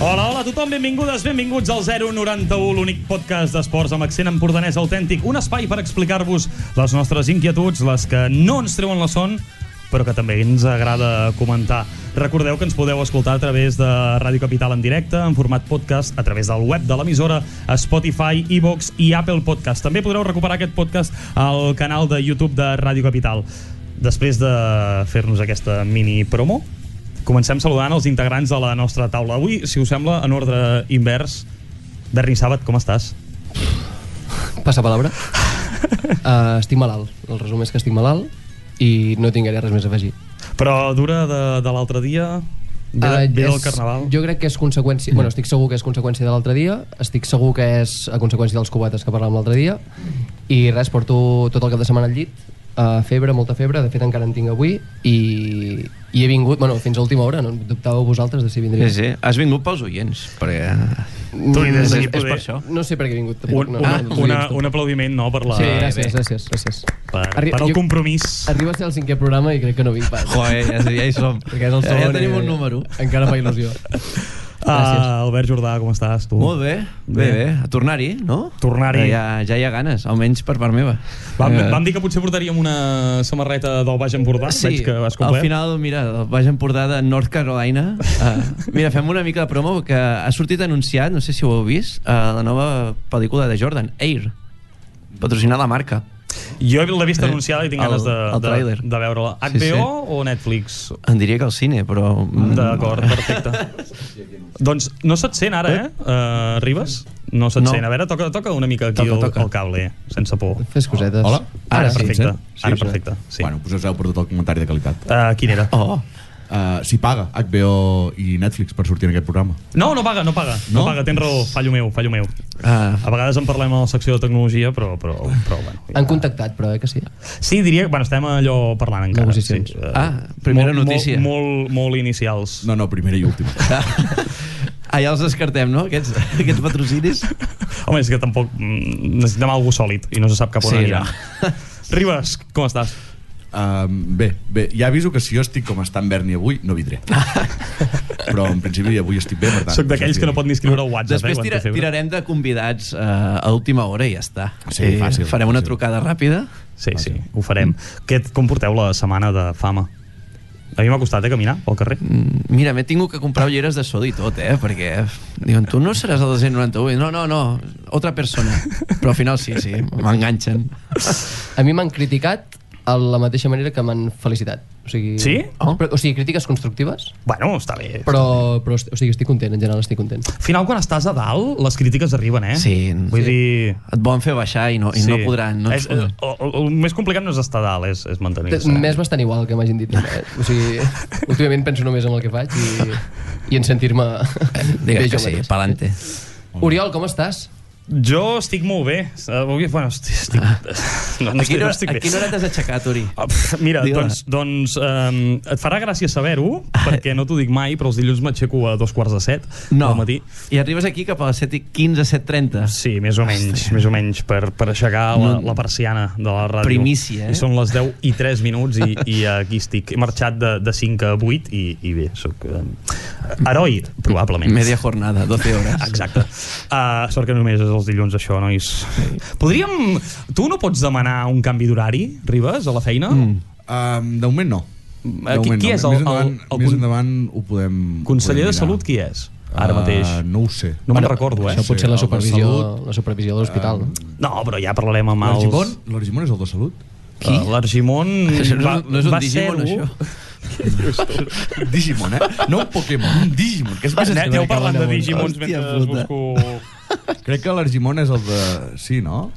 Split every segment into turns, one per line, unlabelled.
Hola, hola a tothom, benvingudes, benvinguts al 091, l'únic podcast d'esports amb accent empordanès autèntic, un espai per explicar-vos les nostres inquietuds, les que no ens treuen la son, però que també ens agrada comentar. Recordeu que ens podeu escoltar a través de Ràdio Capital en directe, en format podcast, a través del web de l'emissora, a Spotify, iVox i Apple Podcast. També podreu recuperar aquest podcast al canal de YouTube de Ràdio Capital. Després de fer-nos aquesta mini promo, Comencem saludant els integrants de la nostra taula. Avui, si us sembla, en ordre invers, Berni Sàbat, com estàs?
Passa palabra. Uh, estic malalt. El resum és que estic malalt i no tinc gaire res més a afegir.
Però dura de, de l'altre dia, ve,
Ah,
uh, ve del
és-
carnaval. Jo...
Jo crec que és conseqüència... Bueno, estic segur que és conseqüència de l'altre dia, estic segur que és a conseqüència dels cubates que parlàvem l'altre dia, i res, porto tot el cap de setmana al llit, uh, febre, molta febre, de fet encara en tinc avui, i, i he vingut, bueno, fins a última hora, no dubtàveu vosaltres de si vindria.
Sí, sí. Has vingut pels oients, perquè...
Tu i des
és,
d'aquí
és per
poder...
això. Ah,
No sé per què he vingut. tampoc,
Un,
no,
un,
no, no,
una, un aplaudiment, no?, per, la,
Sí, gràcies,
bé.
gràcies, gràcies.
per,
Arri-
per el
jo-
compromís.
Ah,
Arriba a ser el cinquè programa i crec que no vinc pas.
Joder, ja, ja hi som.
Perquè és el
ja,
segon
ja tenim
i-
un número.
Encara fa il·lusió. gràcies.
Uh, Albert Jordà, com estàs, tu?
Molt bé, bé, bé. A tornar-hi, no?
Tornar-hi.
Ja, ja hi ha ganes, almenys per part meva.
Vam,
Eh,
vam dir que potser portaríem una samarreta del Baix Empordà,
Sí,
veig que has
al
complert.
final, mira, el vaig emportar de North Carolina. Uh, mira, fem una mica de promo que ha sortit anunciat, no sé si ho heu vist, uh, la nova pel·lícula de Jordan, Air. Patrocinar la marca.
Jo l'he vist
Eh,
anunciada i tinc
el-
ganes de,
el
de,
tràiler.
de veure-la. HBO
Sí, sí.
o Netflix?
Em diria que al cine, però...
Mm.
mm,
D'acord, perfecte. doncs no se't sent ara, eh? Uh, Ribes? No se't
No.
sent. A veure, toca, toca una mica aquí
Toca,
el,
toca.
el cable, sense por.
Fes cosetes.
Hola?
Ara,
Ara sí,
perfecte.
em
Sí, ara, perfecte. Sí.
Sí. Bueno, doncs us heu perdut el comentari de qualitat.
Uh, quin era?
Oh,
Uh, si paga HBO i Netflix per sortir en aquest programa.
No, no paga, no paga. No,
No?
paga, tens raó. Fallo meu, fallo meu.
uh,
A vegades en parlem a la secció de tecnologia, però, però, però bueno. ja.
Han contactat, però, eh, que sí.
Sí, diria que bueno, estem allò parlant encara.
Negociacions.
Sí. Eh,
Ah, primera
molt,
notícia.
Molt, molt, molt inicials.
No, no, primera i última.
Ah, ja els descartem, no? Aquests, aquests patrocinis.
Home, és que tampoc mm, necessitem algú sòlid i no se sap cap on
Sí,
anirà.
no.
Ribes, com estàs?
Um, bé, bé, ja aviso que si jo estic com està en Berni avui, no vindré. Però en principi avui estic bé, per tant...
Soc d'aquells que no pot ni escriure al WhatsApp.
Després
eh, quan
tira,
té febre.
tirarem de convidats eh, a última hora i ja està. Eh,
Sí, fàcil,
Farem una
fàcil.
trucada ràpida.
Sí, sí, ho farem. Què, com porteu la setmana de fama? A mi m'ha costat eh, caminar pel carrer.
Mm, Mira, m'he tingut que comprar ulleres de sol i tot, eh? Perquè diuen, tu no seràs el 291. No, no, no, otra persona. Però al final sí, sí, m'enganxen.
A mi m'han criticat a la mateixa manera que m'han felicitat. O sigui,
Sí?
Oh. Però, o sigui, crítiques constructives,
Bueno, està bé. Però...
però, però o sigui, estic content, en general estic content.
Al final, quan estàs a dalt, les crítiques arriben, eh?
Sí,
Vull
sí.
dir...
Et volen fer baixar i no, i no podran. No
és,
ens
el,
podran.
el, el, més complicat no és estar a dalt, és, és mantenir-se. eh?
M'és bastant igual el que m'hagin dit. Eh? O sigui, últimament penso només en el que faig i, i en sentir-me bé
eh,
Digues
jo
que sí,
mateix.
pa'lante.
Oriol, com estàs?
Jo estic molt bé. Avui, bueno, estic... estic... No, no
Ah. A
estic,
quina
no
hora,
estic
a
bé.
quina hora t'has aixecat, Uri?
Ah, pf, Mira,
Digue-la. Ah.
doncs, doncs um, et farà gràcia saber-ho, perquè no t'ho dic mai, però els dilluns m'aixeco a dos quarts de set
No.
del matí.
I arribes aquí cap a les 7.15, 7.30.
Sí, més o menys, més o menys per, per aixecar la, la persiana de la ràdio.
Primícia, eh?
I són les 10 i 3 minuts i, i aquí estic. He marxat de, de 5 a 8 i, i bé, soc eh, heroi, probablement.
Media jornada, 12 hores.
Exacte. Uh, sort que només és els dilluns, això, nois. Podríem... Tu no pots demanar un canvi d'horari, Ribes, a la feina? Mm.
Um, de moment no.
Eh,
De
qui- qui és el-
més endavant,
el- el
més
con-
endavant ho podem ho
Conseller de
podem mirar.
Salut, qui és? Ara
Ah,
Eh,
mateix.
No ho sé.
No me'n recordo, eh?
Això
sí,
pot ser
el
la
de
supervisió,
salut.
la supervisió de l'hospital, no?
No, però ja parlarem amb els...
L'Argimon? L'Argimon és el de Salut?
Qui? L'Argimon
Ah, Això no,
va,
no és un
va
Digimon,
ser-ho.
això.
Digimon, eh? No un Pokémon, un Digimon. Que és més
Net, heu parlat de
Hòstia
Digimons mentre
puta.
busco...
Crec que l'Argimon és el de... Sí, no?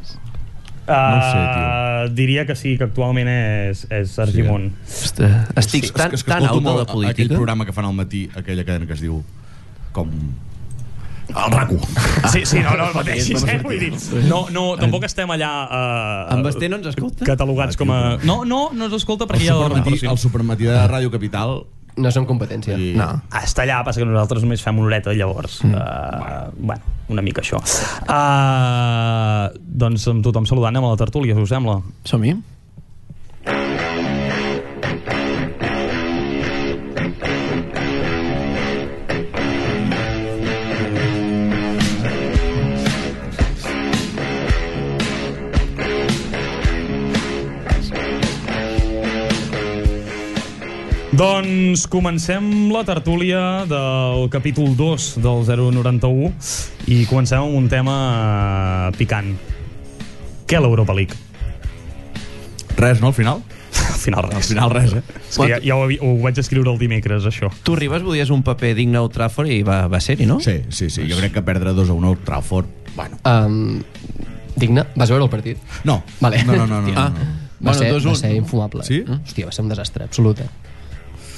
Uh,
No ho sé, tio.
diria que sí, que actualment és, és Argimon.
Ostres, estic tan,
És que
tan
escolto
out de
molt
la
Aquell
política.
programa que fan al matí, aquella cadena que es diu... Com... El RACU.
Sí, sí, no, no, no pateixis, eh? Vull dir, no, no, tampoc estem allà... Uh,
En Basté no ens escolta?
Catalogats com a... No, no, no ens escolta
El
perquè ja dorm.
supermatí, el supermatí de Ràdio Capital.
No som competència.
I...
No.
Està allà, passa que eh, nosaltres només fem una horeta, llavors. Mm. Uh, bueno, una mica això. Uh, doncs amb tothom saludant amb la tertúlia, si us sembla.
Som-hi.
Doncs comencem la tertúlia del capítol 2 del 091 i comencem amb un tema picant. Què l'Europa League?
Res, no, al final?
Al final res.
Al final res, eh?
És que ja, ja ho, havia- ho vaig escriure el dimecres, això.
Tu arribes, volies un paper digne a Old Trafford i va, va ser-hi, no?
Sí, sí, sí. Jo crec que perdre 2 a 1 al Trafford... Bueno,
Um, digne, vas veure el partit?
no.
Vale.
No, no, no. no, no,
Ah,
no.
Va,
bueno,
ser,
dos,
va
un.
ser infumable.
Sí?
Mm? Hòstia, va ser un desastre absolut, eh?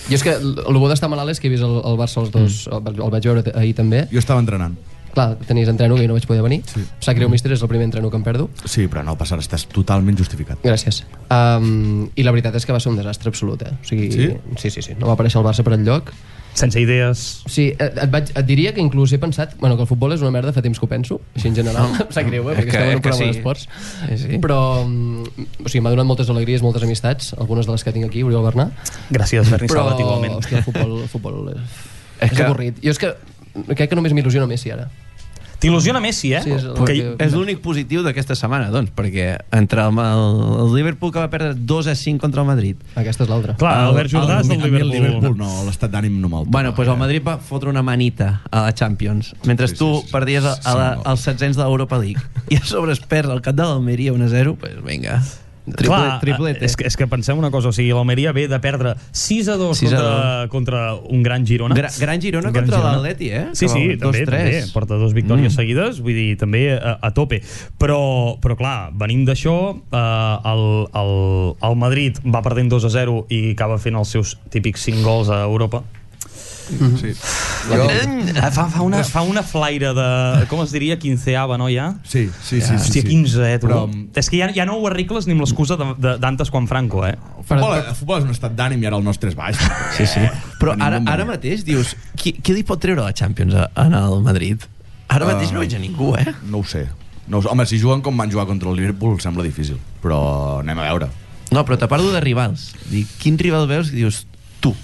Jo és que el el bo d'estar malalt és que he vist el, el Barça els dos, mm. el, vaig- el vaig veure t- ahir també.
Jo estava entrenant.
Clar, tenies entreno i no vaig poder venir. Sí. Em sap greu, mister, és el primer entreno que em perdo.
Sí, però no passa, res, estàs totalment justificat.
Gràcies. Um, I la veritat és que va ser un desastre absolut, eh? O sigui,
Sí?
Sí, sí, sí. No va aparèixer el Barça per enlloc.
Sense idees.
Sí, et, et, vaig, et diria que inclús he pensat bueno, que el futbol és una merda fa temps que ho penso, així en general, em sap greu, eh,
és
perquè
que-
estem en
és
un
que
programa
sí.
d'esports,
Sí, sí.
però mm, o sigui, m'ha donat moltes alegries, moltes amistats, algunes de les que tinc aquí, Oriol Bernà,
Gràcies, Berni
però,
Salvat, igualment.
hòstia, el futbol, el futbol és, és
És que-
que... avorrit. Jo és que crec que només m'il·lusiona Messi ara.
T'il·lusiona Messi, eh?
Sí, és el
que...
que-
És l'únic positiu d'aquesta setmana, doncs, perquè entre el, el, el Liverpool que va perdre 2 a 5 contra el Madrid,
Aquesta és l'altra.
Clar, Ah, Albert Jordà és
A
del
mi- a mi
Liverpool. Liverpool.
No, l'estat d'ànim no me'l toca.
Bueno, pues el Madrid va fotre una manita a la Champions, mentre
Sí, sí,
tu
sí, sí.
perdies a, a la,
Sí, no.
als setzents de l'Europa League i a sobre es perd el cap de l'Almeria 1 a 0, pues vinga, triplet,
Clar,
triplet eh?
és, que, és que pensem una cosa, o sigui, l'Almeria ve de perdre 6 a 2
6 a
contra, contra un gran Girona.
Gra- gran Girona contra l'Atleti, eh?
Sí,
Que
sí,
va-
també,
dos, tres.
també, porta dues victòries mm. seguides, vull dir, també a, a tope. Però, però clar, venim d'això, eh, el, el, el Madrid va perdent 2 a 0 i acaba fent els seus típics 5 gols a Europa.
Sí.
mm-hmm.
Eh, Fa, fa, una, fa una flaire de, com es diria, quinceava, no, ja?
Sí, sí, sí. sí,
Hòstia,
sí.
15, eh, tu.
Però, mm,
Però... És que ja, ja no ho arregles ni amb l'excusa de- de- d'antes quan Franco, eh?
El futbol, el futbol és un estat d'ànim i ara el nostre és baix.
Sí, sí. Però
Venim
ara,
d'on
ara
venim.
mateix dius, qui, qui li pot treure la Champions a, en el Madrid? Ara
Ah.
mateix no veig a ningú, eh?
No ho sé. No ho sé. Home, si juguen com van jugar contra el Liverpool sembla difícil, però anem a veure.
No, però te parlo de rivals. Dic, quin rival veus? I dius, tu.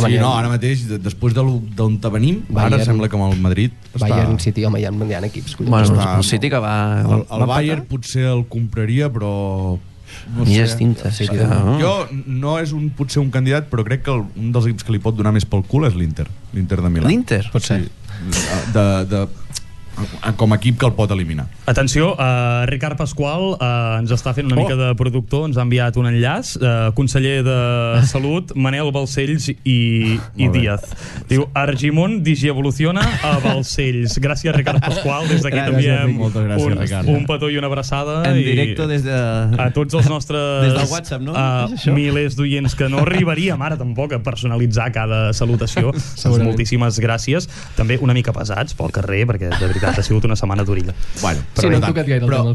Sí, no, ara mateix, de- després de lo- d'on te venim, Bayern.
Bayern.
ara sembla que amb el Madrid està...
Bayern City, home, hi ha, hi ha equips, collons.
Bueno,
Doncs Està-
el City que va...
El, el
va
Bayern
empatar.
potser el compraria, però... No
Ni
sé.
distinta, City.
Ah.
no?
Jo no és un, potser un candidat, però crec que el, un dels equips que li pot donar més pel cul és l'Inter, l'Inter de Milà.
L'Inter.
Pot ser.
De, de, com a equip que el pot eliminar.
Atenció, uh, Ricard Pasqual uh, ens està fent una oh. mica de productor, ens ha enviat un enllaç. Uh, conseller de Salut, Manel Balcells i, i
Molt bé.
Díaz. Diu, Argimon digievoluciona a Balcells. Gràcies, Ricard Pasqual. Des d'aquí
Gràcies,
t'enviem
Ric. Moltes gràcies,
un,
Ricard.
un petó i una abraçada.
En
i
directo des de...
A tots els nostres
Des del WhatsApp, no? És
Uh,
això?
milers d'oients que no arribaríem ara tampoc a personalitzar cada salutació. Doncs
Segurament.
moltíssimes gràcies. També una mica pesats pel carrer, perquè de veritat ha sigut una setmana durilla.
Bueno,
Sí, no
per
hem
tant,
tocat gaire el
però,
tema al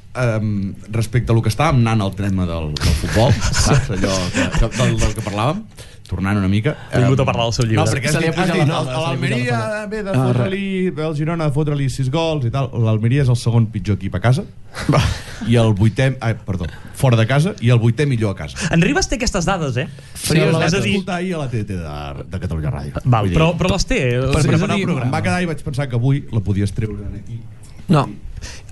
final.
Um, respecte a lo que estàvem anant al tema del, del futbol, saps, allò que, que, del, del que parlàvem, tornant una mica... eh,
Ha vingut a parlar del seu llibre. Ah,
No, perquè
Se
has
li ha
dit,
pujat
has
la
dit,
falda, se li ha
l'Almeria
pujat la
ve de fotre-li, ve el Girona de fotre-li sis gols i tal. L'Almeria és el segon pitjor equip a casa i el vuitè... Ai, perdó, fora de casa i el vuitè millor a casa.
En Ribas té aquestes dades, eh?
Frios,
Vaig
és a dir,
escoltar ahir a la TT de, de Catalunya Ràdio.
val,
Vull dir,
però, però les té. eh?
per
És a
preparar
dir,
el programa. Em va quedar i vaig pensar que avui la podies treure aquí.
No.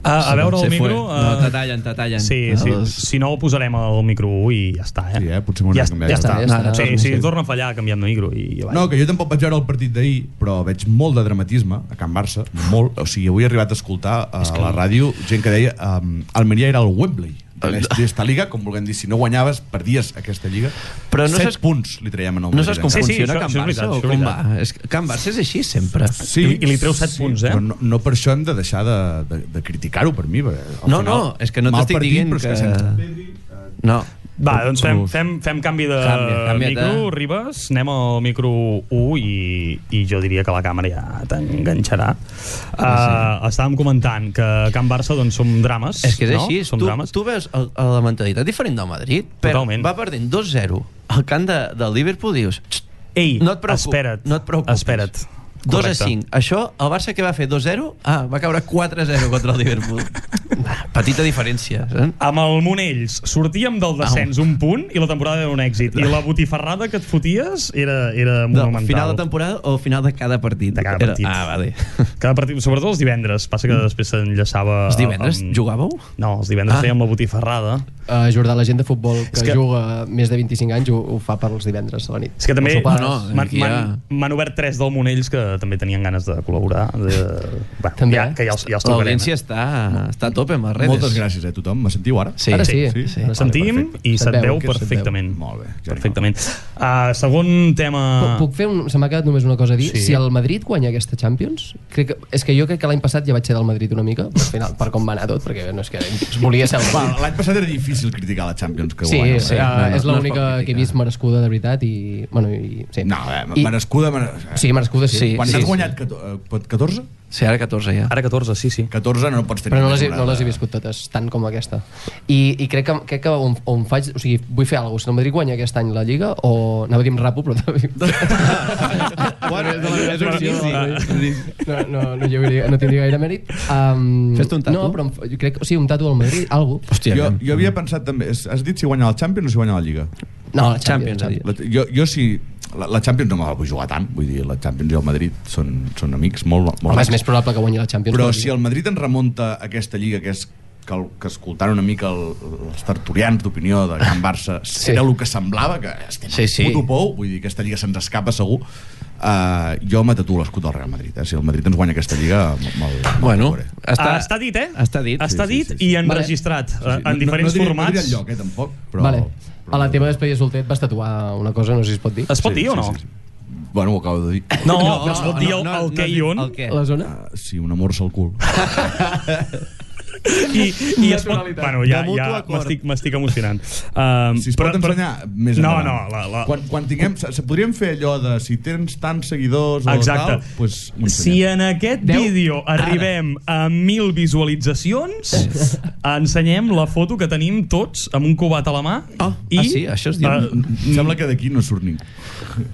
A, a veure el
Se fue.
micro...
No, te
eh,
tallen, te tallen.
Sí, sí.
Els-
Si no, ho posarem al micro 1 i ja està, eh?
Sí, eh? Potser m'ho
ja,
haurem
ja,
de canviar,
ja
ja
està.
està,
Ja
ja
està.
està.
Sí, sí, torna a fallar canviant de micro i ja va.
No, que jo tampoc vaig veure el partit d'ahir, però veig molt de dramatisme a Can Barça, molt. O sigui, avui he arribat a escoltar eh, a la ràdio gent que deia um, Almeria era el Wembley d'aquesta lliga, com vulguem dir, si no guanyaves, perdies aquesta lliga.
Però no
Set
s'has-
punts li traiem en el
No
Madrid,
saps
encara.
com
Sí, sí, això-
funciona Can
això és
Barça
veritat,
o
això és
com
veritat.
va? És, que Can Barça és així sempre.
Sí,
I- i li treu set punts, eh?
Però no, no per això hem de deixar de, de, de criticar-ho, per mi. perquè al
No,
final,
no, és que no
mal
t'estic
partit,
dient
però és
que-
sense Pedri, eh,
No.
Va, doncs fem, fem, fem canvi de
Canvia, canvia,
micro,
eh?
Ribas, anem al micro 1 i, i jo diria que la càmera ja t'enganxarà.
Ah,
Uh, Estàvem comentant que a Can Barça doncs, som drames,
És que és
no?
així.
Som
tu,
drames.
tu veus el, el- la mentalitat diferent del Madrid, però
Totalment.
va perdent 2-0 al camp de, del Liverpool, dius... "Xt,
Ei,
no et preocupis,
espera't,
no et preocupis.
espera't.
2 a
Correcte.
5. Això, el Barça que va fer 2-0, ah, va caure 4-0 contra el Liverpool. Petita diferència, saps?
Amb el Monells sortíem del descens un punt i la temporada era un èxit. I la botifarrada que et foties era, era
De,
monumental.
final de temporada o final de cada partit?
De cada
Era-
partit.
Ah, vale.
Cada partit, sobretot els divendres. Passa que després s'enllaçava...
Els divendres
amb-
jugàveu?
No, els divendres
Ah.
fèiem la botifarrada.
Uh, Jordà, la gent de futbol que,
És que-
que juga més de 25 anys ho, ho fa per els divendres a la nit.
És que també
Els sopars.
No, no.
m'han-
aquí hi ha-
m'han- m'han obert tres del Monells que també tenien ganes de col·laborar. De... Bueno,
També,
ja,
eh?
que ja els, ja els tocarem.
L'audiència està, està a tope amb les redes.
Moltes gràcies, eh, tothom. Me sentiu ara?
Sí.
Ara sí.
sí,
sí,
sí.
Ara
Vale, sentim
perfecte.
i se't veu
que se't
perfectament.
Molt bé, genial.
Perfectament. Uh, segon tema...
Ah.
Puc, puc fer un... Se m'ha quedat només una cosa a dir.
Sí.
Sí. Si el Madrid guanya aquesta Champions, crec que, és que jo crec que l'any passat ja vaig ser del Madrid una mica, però al final, per com va anar tot, perquè no és que volia ser el
Va,
Madrid.
Ah, L'any passat era difícil criticar la Champions que
Sí,
guanya.
sí,
eh?
uh, és
no es
l'única
pot
que he
criticar.
vist merescuda de veritat i... Bueno, i sí.
No, eh,
I,
merescuda... Mere...
sí, merescuda sí.
Sí,
Quan
sí,
n'has
sí.
guanyat cato- eh, pot- 14?
Sí, ara 14 ja.
Ara 14, sí, sí.
14 no pots tenir
Però no
una
les, he, no
temporada.
les he viscut totes, tant com aquesta. I, i crec que, crec que on, on faig... O sigui, vull fer alguna cosa. Si el Madrid guanya aquest any la Lliga, o... Anava a dir amb rapo, però també... bueno, és la més No, no, no, jo diria, no tindria gaire mèrit. Um,
Fes-te un tatu.
No, però em fa- jo crec... O sigui, un tatu al Madrid, algo.
Hòstia,
Jo,
jo,
jo havia pensat també... és- Has dit si guanya la Champions o si guanya la Lliga?
No, la
Champions,
Champions.
ha dit.
Champions.
La, jo, jo sí... La, la Champions no me la vull jugar tant. Vull dir, la Champions i el Madrid són, són amics molt... molt
Home, és
amics.
més probable que guanyi la Champions.
eh. Però
que la
si
Lliga.
el Madrid en remunta a aquesta lliga que és que, el, que escoltant una mica el, els tertulians d'opinió de Can Barça sí.
Sí.
era el que semblava que estem
Sí, sí.
puto pou, vull dir, aquesta lliga se'ns escapa segur uh, jo me tatuo l'escut del Real Madrid eh? si el Madrid ens guanya aquesta lliga me'l me
Bueno,
Està,
està,
està dit, eh?
Està dit.
Està
Sí, sí,
dit
sí, sí.
i enregistrat eh, en diferents
no, no diré- no
formats.
diré el lloc, eh, tampoc però,
Vale. A la teva despedida solter et vas tatuar una cosa, no sé si es pot dir.
Es pot dir o no?
bueno, ho acabo de dir
No, però es pot dir el, el què i on.
El què.
A la zona?
Ah, sí, una morsa al cul
I, i es pot...
Naturalitat.
Bueno, ja,
De mutu
ja
acord.
m'estic m'estic emocionant. Um,
Si es pot ensenyar, més
No,
endavant.
no, la, la...
Quan, quan tinguem... Se, se podríem fer allò de si tens tants seguidors o
Exacte.
tal, pues, ho
si
eh,
ensenyem.
en aquest
Deu?
vídeo arribem a 1.000 visualitzacions, ensenyem la foto que tenim tots amb un cubat a la mà.
Ah,
i,
ah, sí, això es diu.
eh,
Em Sembla que d'aquí no surt ningú.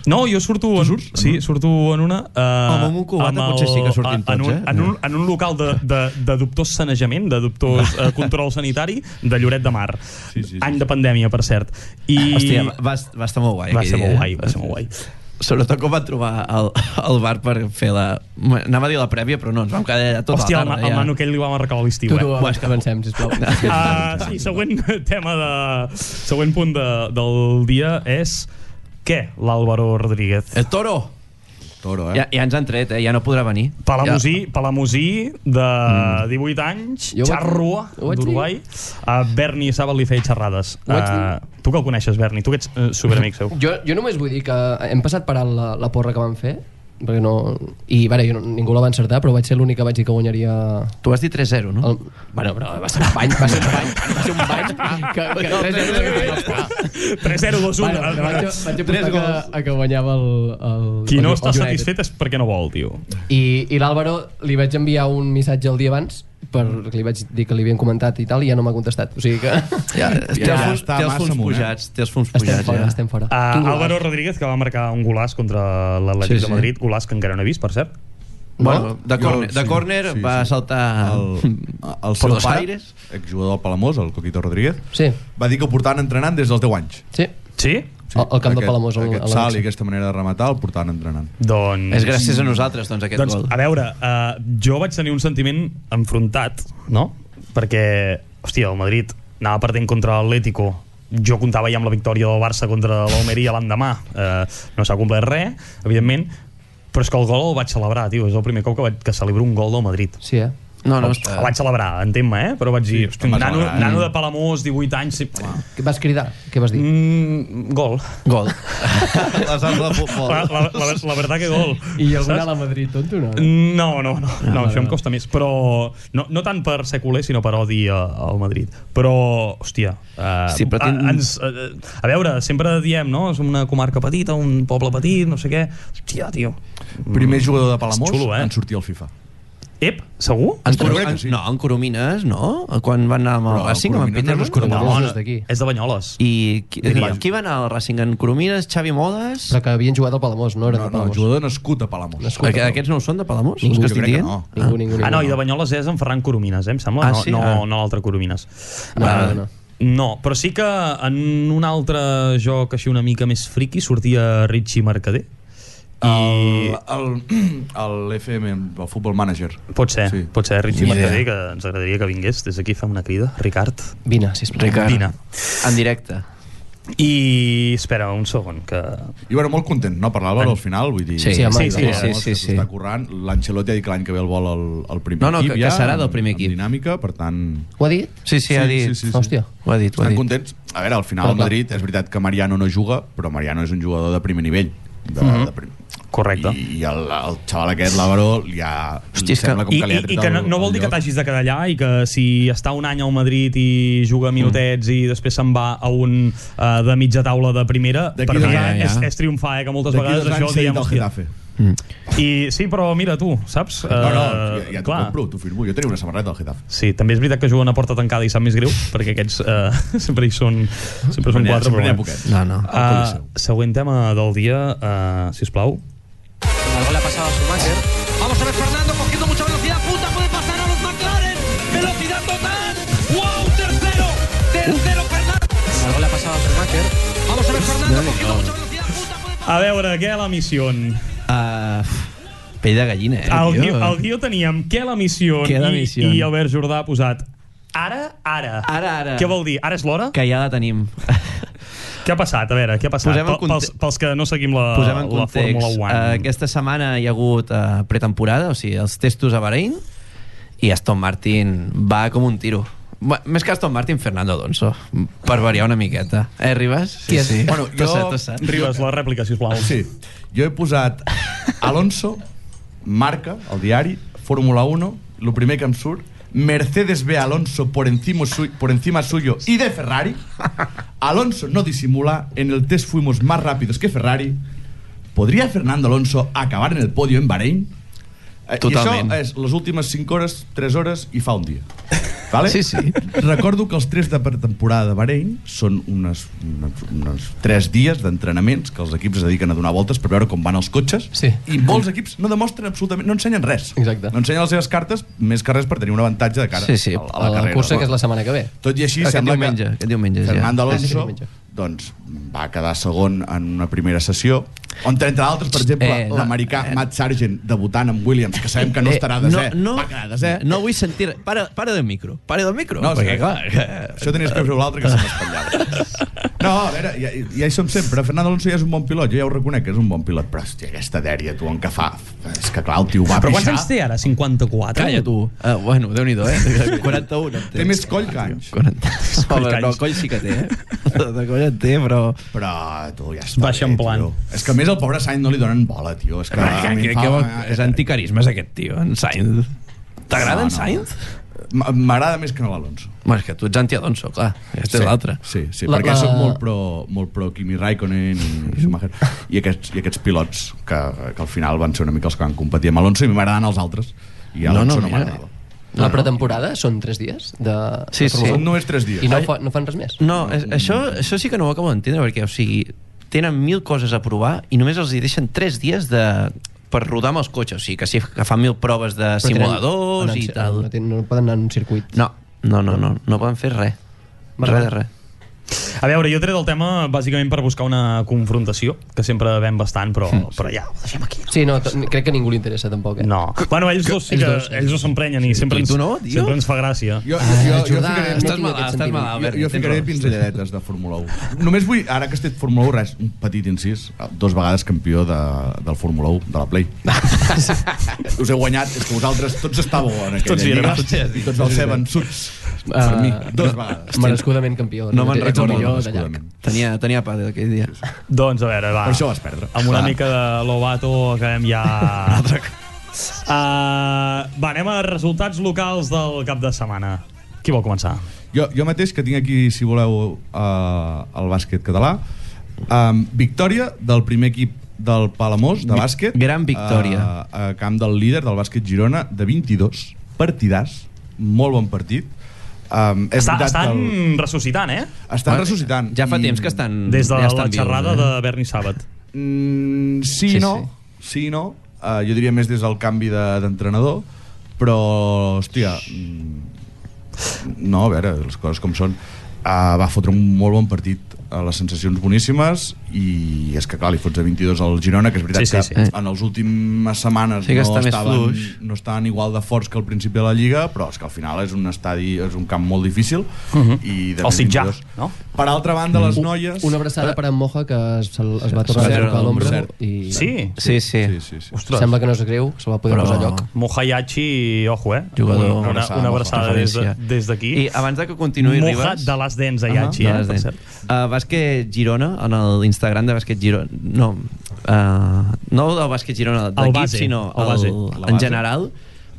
No, jo surto en, surts, sí, surto en una... Uh,
amb un cubata potser sí que surtin
en
tots,
un,
eh?
En un, en un local de, de, de dubtós sanejament, de dubtós uh, control sanitari de Lloret de Mar. Sí,
sí, sí,
Any de pandèmia, per cert. I
Hòstia, Eh, va, va, va estar molt guai.
va
aquell
ser molt
dia.
guai, va ser molt guai.
Sobretot quan vam trobar el, el bar per fer la... Anava a dir la prèvia, però no, ens vam quedar allà tota
Hòstia, el,
la
ma-
tarda.
el Manu aquell li va marcar a l'estiu,
Tu,
eh?
tu,
Buah, és que-
avancem, sisplau.
Uh, sí, següent tema de... Següent punt de, del dia és... Què, l'Àlvaro Rodríguez?
El toro!
Toro, eh?
Ja, ja ens han tret, eh? ja no podrà venir.
Palamusí, Palamusí, de 18 anys,
Mm. Jo ho vaig-
xarrua,
ho vaig dir.
d'Uruguai. A Berni Saba li feia xerrades.
Ho vaig
Eh, tu que el coneixes, Berni, tu que ets eh, superamic seu.
Jo, jo només vull dir que hem passat per alt la, la porra que vam fer, perquè no... I, vale, jo no, ningú la va encertar, però vaig ser l'únic que vaig dir que guanyaria...
Ja. Tu has dit 3-0, no?
El... Bueno, però va ser un bany, va ser un bany, va ser un bany que, que, que Ah, tres euros que tenia els pals.
3-0, 2-1.
Bueno, però vaig,
eh,
vaig apostar que, a que guanyava el, el
Qui
el-
no
el
està
United.
satisfet és perquè no vol, tio. Eh,
I, i l'Àlvaro li vaig enviar un missatge el dia abans perquè li vaig dir que li havien comentat i tal i ja no m'ha contestat o sigui que
Ja, té,
ja
els fons,
està
té els
massa
fons
amunt, eh?
pujats, té els fons
estem
pujats.
fora,
ja.
estem fora
Uh, Álvaro Rodríguez, que va marcar un golàs contra l'Atlètic sí,
Sí,
sí.
sí.
de Madrid, golàs que encara no he vist, per cert.
Bueno, de
Jo,
córner, de
sí,
córner
sí,
va
sí.
Ah.
saltar
El,
Por
el seu
los
pare,
aires.
exjugador del Palamós, el Coquito Rodríguez,
sí,
va dir que ho portaven entrenant des dels 10 anys.
sí
Sí?
Sí,
Al- al camp de Palamós, al-
Aquest
a la
salt
Baxi.
i aquesta manera de rematar el portaven entrenant.
Doncs...
És gràcies a nosaltres, doncs, aquest
doncs,
gol.
a veure, uh, jo vaig tenir un sentiment enfrontat, no? Perquè, hòstia, el Madrid anava perdent contra l'Atlético. Jo comptava ja amb la victòria del Barça contra l'Almeria l'endemà. Uh, no s'ha complert res, evidentment, però és que el gol el vaig celebrar, tio. És el primer cop que, vaig, que celebro un gol del Madrid.
sí eh
No, no,
El
està...
vaig celebrar, entén-me, eh? Però vaig dir,
Sí,
hosti,
te'n vas
nano,
alegrar, eh?
nano de Palamós, 18 anys... Sí.
Què vas cridar? Què vas dir?
Mm, gol.
Gol. Les arts de futbol.
La, la, la, la verdad que gol.
I algun
Saps?
a la Madrid, tonto, no?
No, no, no, no, no això em costa més. Però no, no tant per ser culer, sinó per odi a- al Madrid. Però, hòstia, eh,
Sí, però
a,
tin-
ens, eh, a veure, sempre diem, no? És una comarca petita, un poble petit, no sé què. Hòstia, tio.
Primer jugador de Palamós
És xulo, eh?
en sortir al FIFA.
Ep, segur?
En,
Jo crec
Coru-
que
en,
sí.
no, en Coromines, no? Quan van anar amb el
Però
Racing, amb en
Coromines
Peter
no és
Luscurón.
Coromines.
no,
és d'aquí.
és de Banyoles. I...
I qui, eh,
Diria.
qui va anar al Racing? En Coromines, Xavi Modes?
Però que havien jugat al Palamós, no eren de
No, no, el
Palamós.
jugador nascut a Palamós.
Nascut.
Aqu- Aquests no ho són de Palamós?
Ningú,
els que
jo
estic
crec que
dient?
no.
Ningú, ningú, ningú.
Ah, no, i de Banyoles és en Ferran Coromines, eh, em sembla.
Ah,
no,
sí?
no,
Ah.
no l'altre Coromines.
No,
Ah,
no, no.
No, però sí que en un altre joc així una mica més friqui sortia Richie Mercader. I...
El, el, el FM, el Football Manager.
Pot ser, sí.
Sí.
pot ser Richie
Ni idea.
Mercader, que ens agradaria que vingués. Des d'aquí fem una crida. Ricard.
Vine, sisplau.
Ricard.
Vine.
En directe.
I espera un segon, que...
I bueno, molt content, no? Per l'Àlvaro al final, vull dir...
Sí,
Sí, home,
sí,
sí,
sí,
sí,
sí,
sí,
sí,
sí.
sí. Està currant. L'Ancelotti ha dit que l'any que ve el vol al, al primer
No, no,
equip.
que- que
ja,
serà del
amb-
primer
amb
equip.
dinàmica, per tant...
Ho ha dit?
Sí, sí, ha dit. Sí, sí,
Hòstia.
Ho ha dit, ho ha
Estan
dit.
contents. A veure, al final
Però,
el
clar.
Madrid, és veritat que Mariano no juga, però Mariano és un jugador de primer nivell. De,
Mhm.
de prim...
Correcte.
I, I el, el xaval aquest, l'Àlvaro, li ha...
Hosti, és que-
sembla com
I,
que li
i,
ha tret
i que no,
el-
no
el
vol dir que
lloc.
t'hagis de quedar allà i que si està un any al Madrid i juga minutets mm. i després se'n va a un uh, de mitja taula de primera,
D'aquí
per
dos
mi
anys,
és,
ja.
és triomfar, eh, que moltes
D'aquí
vegades
dos
això
anys
ho
s'ha dit
diem,
del
hòstia.
Getafe.
I, sí, però mira, tu, saps?
No, no,
Eh,
ja, ja t'ho compro, t'ho firmo. Jo tenia una samarreta del Getafe.
Sí, també és veritat que juguen a porta tancada i sap més greu, perquè aquests eh, sempre hi són, sempre són
Sempre n'hi ha-
quatre.
sempre n'hi ha
bueno.
poquets.
No, no.
Ah, següent tema del dia, uh, si us plau.
El gol ha pasado a Schumacher. Vamos a ver Fernando cogiendo mucha velocidad. Punta puede pasar a los McLaren. Velocidad total. ¡Wow! Tercero. Tercero Fernando. El gol ha pasado a Schumacher. Vamos a ver Fernando cogiendo mucha velocidad. Punta puede pasar.
A veure, què a la missió?
Uh, pell de gallina, eh,
Al
tio.
guió, al guió teníem què a la missió
Què a la
i,
missió?
i Albert Jordà ha posat ara, ara.
Ara, ara.
Què vol dir? Ara és l'hora?
Que ja la tenim.
Què ha passat? A veure, què ha passat?
Posem en
Pel- pels,
conte-
pels que no seguim la,
Posem en
la
context.
Fórmula 1.
Uh, aquesta setmana hi ha hagut uh, pretemporada, o sigui, els testos a Bahrein, i Aston Martin va com un tiro. Bé, Més que Aston Martin, Fernando Alonso. Per variar una miqueta. Eh, Ribas?
Qui és?
Bueno,
T'ho
jo-
sé, t'ho sé.
Ribes, la rèplica,
Ah,
sisplau.
Sí, jo he posat Alonso, marca, el diari, Fórmula 1, el primer que em surt, Mercedes ve a Alonso por encima, su- por encima suyo y de Ferrari. Alonso no disimula, en el test fuimos más rápidos que Ferrari. ¿Podría Fernando Alonso acabar en el podio en Bahrein? Eh,
Totalment.
I això és les últimes 5 hores, 3 hores i fa un dia. Vale?
Sí, sí.
Recordo que els tres de per temporada de Bahrein són unes, unes, unes tres dies d'entrenaments que els equips es dediquen a donar voltes per veure com van els cotxes
Sí.
i molts equips no demostren absolutament, no ensenyen res.
Exacte.
No ensenyen les seves cartes més que res per tenir un avantatge de cara
Sí, sí.
a, a
A
la,
la,
carrera.
cursa, que és la setmana que ve.
Tot i així,
Aquest
sembla
diumenge,
que
aquest diumenge, ja.
Fernando
Ah, sí,
Alonso
diumenge.
doncs, va quedar segon en una primera sessió, on entre d'altres, per exemple,
Eh,
eh,
no,
l'americà
eh.
Matt Sargent debutant amb Williams, que sabem que no estarà desè,
no,
va quedar desè.
no vull sentir... Para, para del micro. Para del micro.
No,
perquè,
sí.
clar... eh,
Això tenies que fer l'altre que se m'espatllava. No, a veure, ja, ja hi som sempre. Fernando Alonso ja és un bon pilot, jo ja ho reconec que és un bon pilot, però hòstia, aquesta dèria, tu, en què fa? És que clar, el tio va
Però quants
pixar.
anys té ara? 54?
Calla, tu. Uh, bueno, Déu-n'hi-do, eh? 41 en
Té més coll que anys.
40.
Coll
Home,
que
no,
anys.
coll sí que té, eh? De coll en té, però...
Però, tu, ja està
Va eixamplant.
bé, tio. És que a més el pobre Sainz no li donen bola, tio. És que,
Ah, que, que, que, vol- és anticarismes aquest tio, en Sainz. T'agrada
No,
en
no.
Sainz?
M- M'agrada més que no l'Alonso.
Bueno, és que tu ets anti-Alonso, clar. Aquest és l'altre.
Sí, sí,
La-
la, perquè
la-
la... soc molt pro, molt pro Kimi Raikkonen i Schumacher i aquests, i aquests pilots que, que al final van ser una mica els que van competir amb Alonso i m'agraden els altres i
No, no,
Alonso no,
mira.
m'agradava.
La pretemporada són tres dies de...
Sí,
de
sí.
Fórmula
Són
1?
només tres dies.
I no, fa, no fan res més.
No, és, això, això sí que no ho acabo d'entendre, perquè, o sigui, tenen mil coses a provar i només els hi deixen 3 dies de per rodar amb els cotxes, o sigui, que, sí, que fan mil proves de
Però tenen-
simuladors
anar-
i tal.
No, tenen, no poden anar en un circuit.
No, no, no, no, no poden fer res.
Vale.
Res de res.
A veure, jo he tret el tema bàsicament per buscar una confrontació, que sempre ven bastant, però,
Hmm.
però ja, ho deixem aquí.
Sí, no, t- crec que a ningú li interessa tampoc. Eh?
No. Bueno, ells dos, sí
Ells
que,
dos, sí.
ells dos s'emprenyen i sempre
I
ens,
tu no, tio?
sempre ens fa gràcia.
Jo,
Ah,
jo, jo,
Jordà,
ficaré,
no
Estàs
tinc
malalt,
aquest
estàs
sentiment.
malalt,
jo,
Albert.
jo
tens
ficaré
raó.
pinzelladetes de Fórmula 1. Només vull, ara que has fet Fórmula 1, res, un petit incís, dos vegades campió de, del Fórmula 1, de la Play. Us he guanyat, és que vosaltres tots estàveu en aquella
Tots hi érem.
lliga, i tots els he vençuts per
Ah,
mi, dos
no,
vegades.
Merescudament campió.
No me'n
Ets el
recordo,
millor de llarg.
merescudament.
Tenia, tenia pa d'aquell dia.
Doncs a veure, va.
Per això vas perdre.
Amb una
Clar.
mica de Lovato acabem ja... Uh, va, anem a resultats locals del cap de setmana. Qui vol començar?
Jo, jo mateix, que tinc aquí, si voleu, eh, el bàsquet català, um, victòria del primer equip del Palamós de bàsquet. eh,
Gran victòria.
A, a camp del líder del bàsquet Girona de 22. Partidàs. Molt bon partit. Um, és
Està,
veritat
estan
que el-
ressuscitant, eh?
estan ressuscitant.
Ja fa
i-
temps que estan...
Des de
Mm, ja
la
estan vius,
xerrada
eh?
de Berni Sàbat.
Mm, sí,
Sí,
sí, no. Sí, i no. Uh, jo diria més des del canvi de- d'entrenador, de, però, hòstia... mm, No, a veure, les coses com són. Uh, va fotre un molt bon partit a les sensacions boníssimes i és que clar, li fots de 22 al Girona que és
Sí,
veritat
sí,
que
sí.
Eh.
en les últimes setmanes
Sí que
no,
està més
estaven,
fluix.
no estaven igual de forts que al principi de la Lliga però és que al final és un estadi és un camp molt difícil uh -huh.
Mhm.
i de
El Sitjar,
22.
no?
per altra banda les
Mm.
noies
Una abraçada per en Moja, que es, es va tornar
Sí,
a
sí,
tocar
sí,
l'ombra.
cert.
I
Sí.
Sí, sí.
sí, sí, sí.
Ostres.
Sembla que no és greu, se'l va poder
Però-
posar a lloc.
Mohayachi, ojo, eh?
Jugador.
Una, una, una abraçada des de- des d'aquí.
I abans de que continuï,
Moja
Ribas...
de les dents a Yachi,
de
eh? Per
les dents.
cert.
Uh, bàsquet Girona, en l'Instagram de Bàsquet Girona... No, uh, no del Bàsquet Girona, d'equip,
base,
sinó
el base.
La
en
base.
general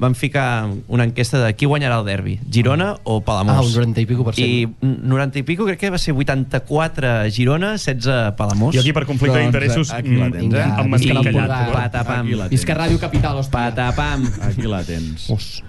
van ficar una enquesta de qui guanyarà el derbi, Girona o Palamós.
Ah, un 90 i pico per cent.
I 90 i pico, crec que va ser 84 Girona, 16 Palamós.
Jo aquí per conflicte
Doncs,
d'interessos
aquí la
mm,
tens,
eh?
em
Aquí
mantinc
la
callat.
podrà-
eh?
Patapam.
Aquí la tens.
Visca Ràdio Capital, hòstia.
Patapam.
Aquí la tens.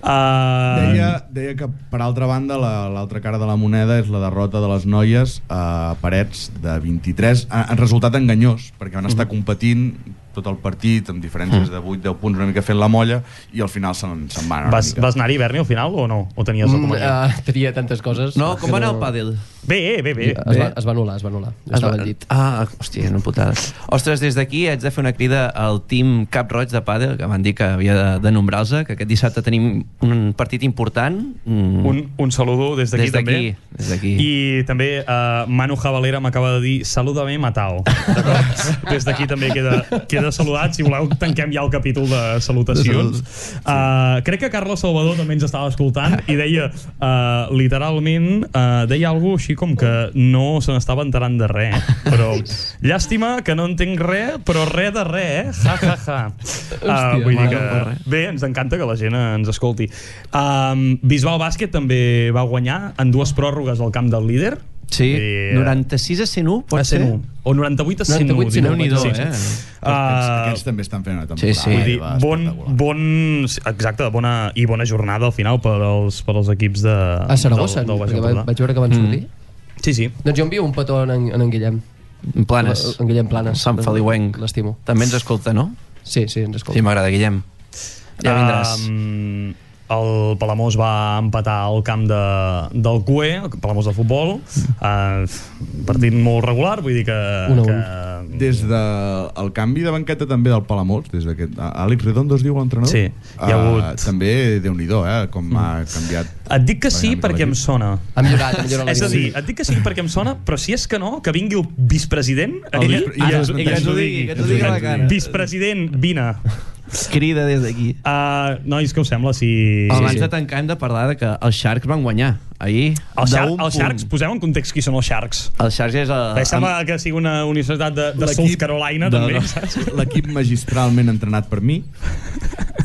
Ah,
Deia, deia que, per altra banda, la- l'altra cara de la moneda és la derrota de les noies a Parets de 23. Ha, han resultat enganyós, perquè van estar competint tot el partit, amb diferències de 8-10 punts, una mica fent la molla, i al final se'n se van una
Eh, Vas,
mica.
vas anar-hi, Berni, al final, o no? O tenies el
Mm,
convenient?
eh, tenia tantes coses.
No, com
que
va anar
no-
el pàdel?
Bé, eh, bé, bé.
Es va, es va anul·lar, es va anul·lar. Jo
Es va-
estava al llit.
Ah, hòstia, no putada. Ostres, des d'aquí haig de fer una crida al team Cap Roig de Pàdel, que van dir que havia de, de nombrar-se, que aquest dissabte tenim un partit important. Mm,
Un, un saludo des d'aquí
Des d'aquí,
també.
des d'aquí.
I també uh, Manu Javalera m'acaba de dir saludame Matao. D'acord? des d'aquí també queda, queda saludat. Si voleu, tanquem ja el capítol de salutacions. Uh, crec que Carlos Salvador també ens estava escoltant i deia, uh, literalment, uh, deia alguna així com que no se n'estava enterant de res. Però llàstima que no entenc res, però res de res, eh? Ja, ja, ja. Uh, vull dir que... Bé, ens encanta que la gent ens escolti. Um, Bisbal Bàsquet també va guanyar en dues pròrrogues al camp del líder.
Sí,
Eh,
96 a 101, pot
a 101. O 98 a 101.
98, si no,
dinou,
Déu-n'hi-do,
sí.
eh?
Ah, Aquests,
Uh,
aquests també estan fent una temporada. eh,
Sí, sí. Vull
Vull dir,
va,
bon,
espectacular.
bon, exacte, bona, i bona jornada al final per als, per als equips de...
Ah,
A Saragossa,
del, del Baix
perquè va,
Empordà.
vaig veure que
Mm.
van sortir.
Sí, sí.
Doncs jo envio un petó en, en, en Guillem.
En Planes.
En Guillem Planes.
Sant Feliuenc.
L'estimo.
També ens escolta, no?
Sí, sí, ens
Sí,
escolta.
m'agrada, Guillem. Ja vindràs.
Um, el Palamós va empatar al camp de, del CUE, el Palamós de futbol, uh, partit molt regular, vull dir que...
Un a un.
que
Des del el canvi de banqueta també del Palamós, des d'aquest... Àlex Redondo es diu l'entrenador?
Sí, hi ha
Ah,
hagut-
també, Déu-n'hi-do, eh, com ha canviat...
Et dic que sí
Dynamic
perquè em
l'equip.
sona.
Ha millorat, ha millorat la
És a dir,
dinàmica.
et dic que sí perquè em sona, però si és que no, que vingui el vicepresident
El
aquí
vice-
i,
ara
ens-
ho
i ens ho
esmentem.
digui.
Que t'ho digui a la cara.
Vicepresident, vine.
Crida des d'aquí.
Uh, nois, què us sembla si...
Abans de tancar hem de parlar de que els Sharks van guanyar ahir.
Els,
d'un
Shark, els
punt. Ah,
Sharks, posem en context qui són els Sharks.
Els Sharks és... El,
Bé, sembla que sigui una universitat de, de South Carolina,
no,
també.
no.
saps?
L'equip magistralment entrenat per mi.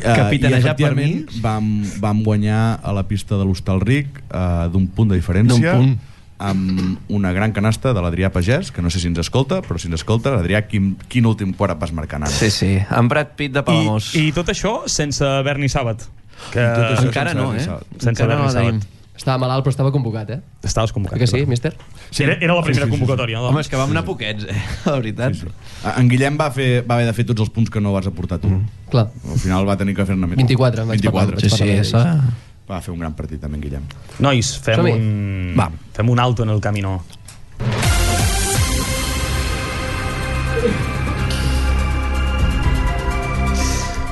Eh,
Capitanejat
i efectivament
per mi.
Vam, vam guanyar a la pista de l'Hostalric eh, d'un punt de diferència.
D'un punt.
amb una gran canasta de l'Adrià Pagès, que no sé si ens escolta, però si ens escolta, l'Adrià, quin, quin últim quart vas marcar, nano?
Sí, sí. En Brad Pitt de Palamós.
I, I tot això sense Berni Sàbat, que
Tot això
Encara
sense
no,
haver
eh?
pensat.
Sense
Encara no
haver-ne
la tenim.
sabat.
Estava malalt, però estava convocat, eh?
estaves
Eh
convocat.
Que sí, míster?
Sí. Era, era la primera
Sí, sí, sí, sí.
convocatòria. no?
Home, és que vam anar poquets, eh? La veritat.
Sí, sí. En Guillem va, fer, va haver de fer tots els punts que no vas aportar tu.
Mm.
Clar.
Al final va tenir que fer-ne més.
24, vaig parlar.
24.
Sí, sí, és... eh,
Va fer un gran partit, també, en Guillem.
doncs? Nois, fem
Som-hi.
un...
Va.
Fem un alto en el camino.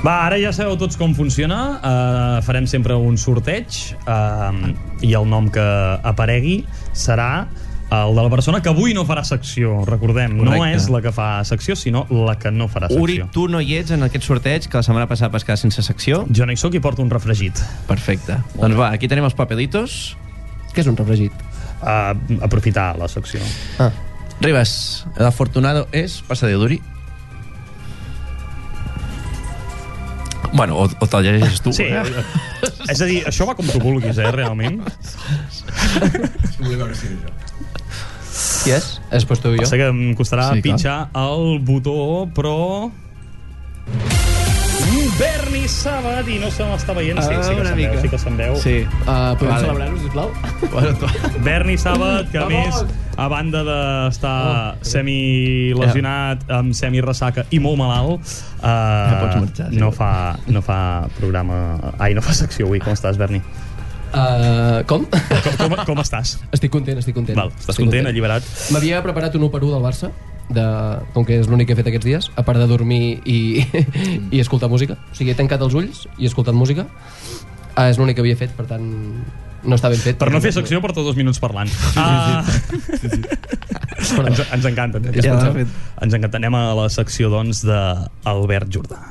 Va, ara ja sabeu tots com funciona. Uh, farem sempre un sorteig uh, i el nom que aparegui serà eh, el de la persona que avui no farà secció, recordem. No
Correcte.
és la que fa secció, sinó la que no farà secció.
Uri, tu no hi ets en aquest sorteig, que la setmana passada vas quedar sense secció.
Jo no hi soc i porto un refregit.
Perfecte. Doncs va, aquí tenim els papelitos.
Què és un refregit?
Uh, aprofitar la secció.
Ah,
Ribas, el afortunado és passador d'Uri. Bueno, o, o te'l llegeixes tu.
Sí,
eh?
és a dir, això va com tu vulguis, eh, realment.
Volia veure si era jo.
Qui és? És pues tu i jo.
Sé que em costarà sí,
Sí, clar.
pinxar el botó, però... Mm, Berni Sabat, i no se m'està veient, sí,
Ah,
sí que
una
se'n veu,
mica.
sí que se'n veu.
Sí.
Uh, podem
Vale.
vale. celebrar-ho, sisplau?
Bueno, tu...
Berni Sabat, que a
Vamos!
més, a banda d'estar oh, semi-lesionat, amb semi-ressaca i molt malalt, eh, ja
pots marxar, sí.
no, fa, no fa programa... Ai, no fa secció avui. Com estàs, Berni?
Uh, com?
Com, com, com estàs?
estic content, estic content.
Val, estàs content, alliberat?
M'havia preparat un 1 per 1 del Barça, de, com que és l'únic que he fet aquests dies, a part de dormir i, i escoltar música. O sigui, he tancat els ulls i he escoltat música. Ah, és l'únic que havia fet, per tant, no està ben fet.
Per no fer secció, porto dos minuts parlant. Ah, ens, ens encanta. Ens,
Ja
encanta.
l'ha fet.
ens encanta. Anem a la secció, doncs, d'Albert Jordà.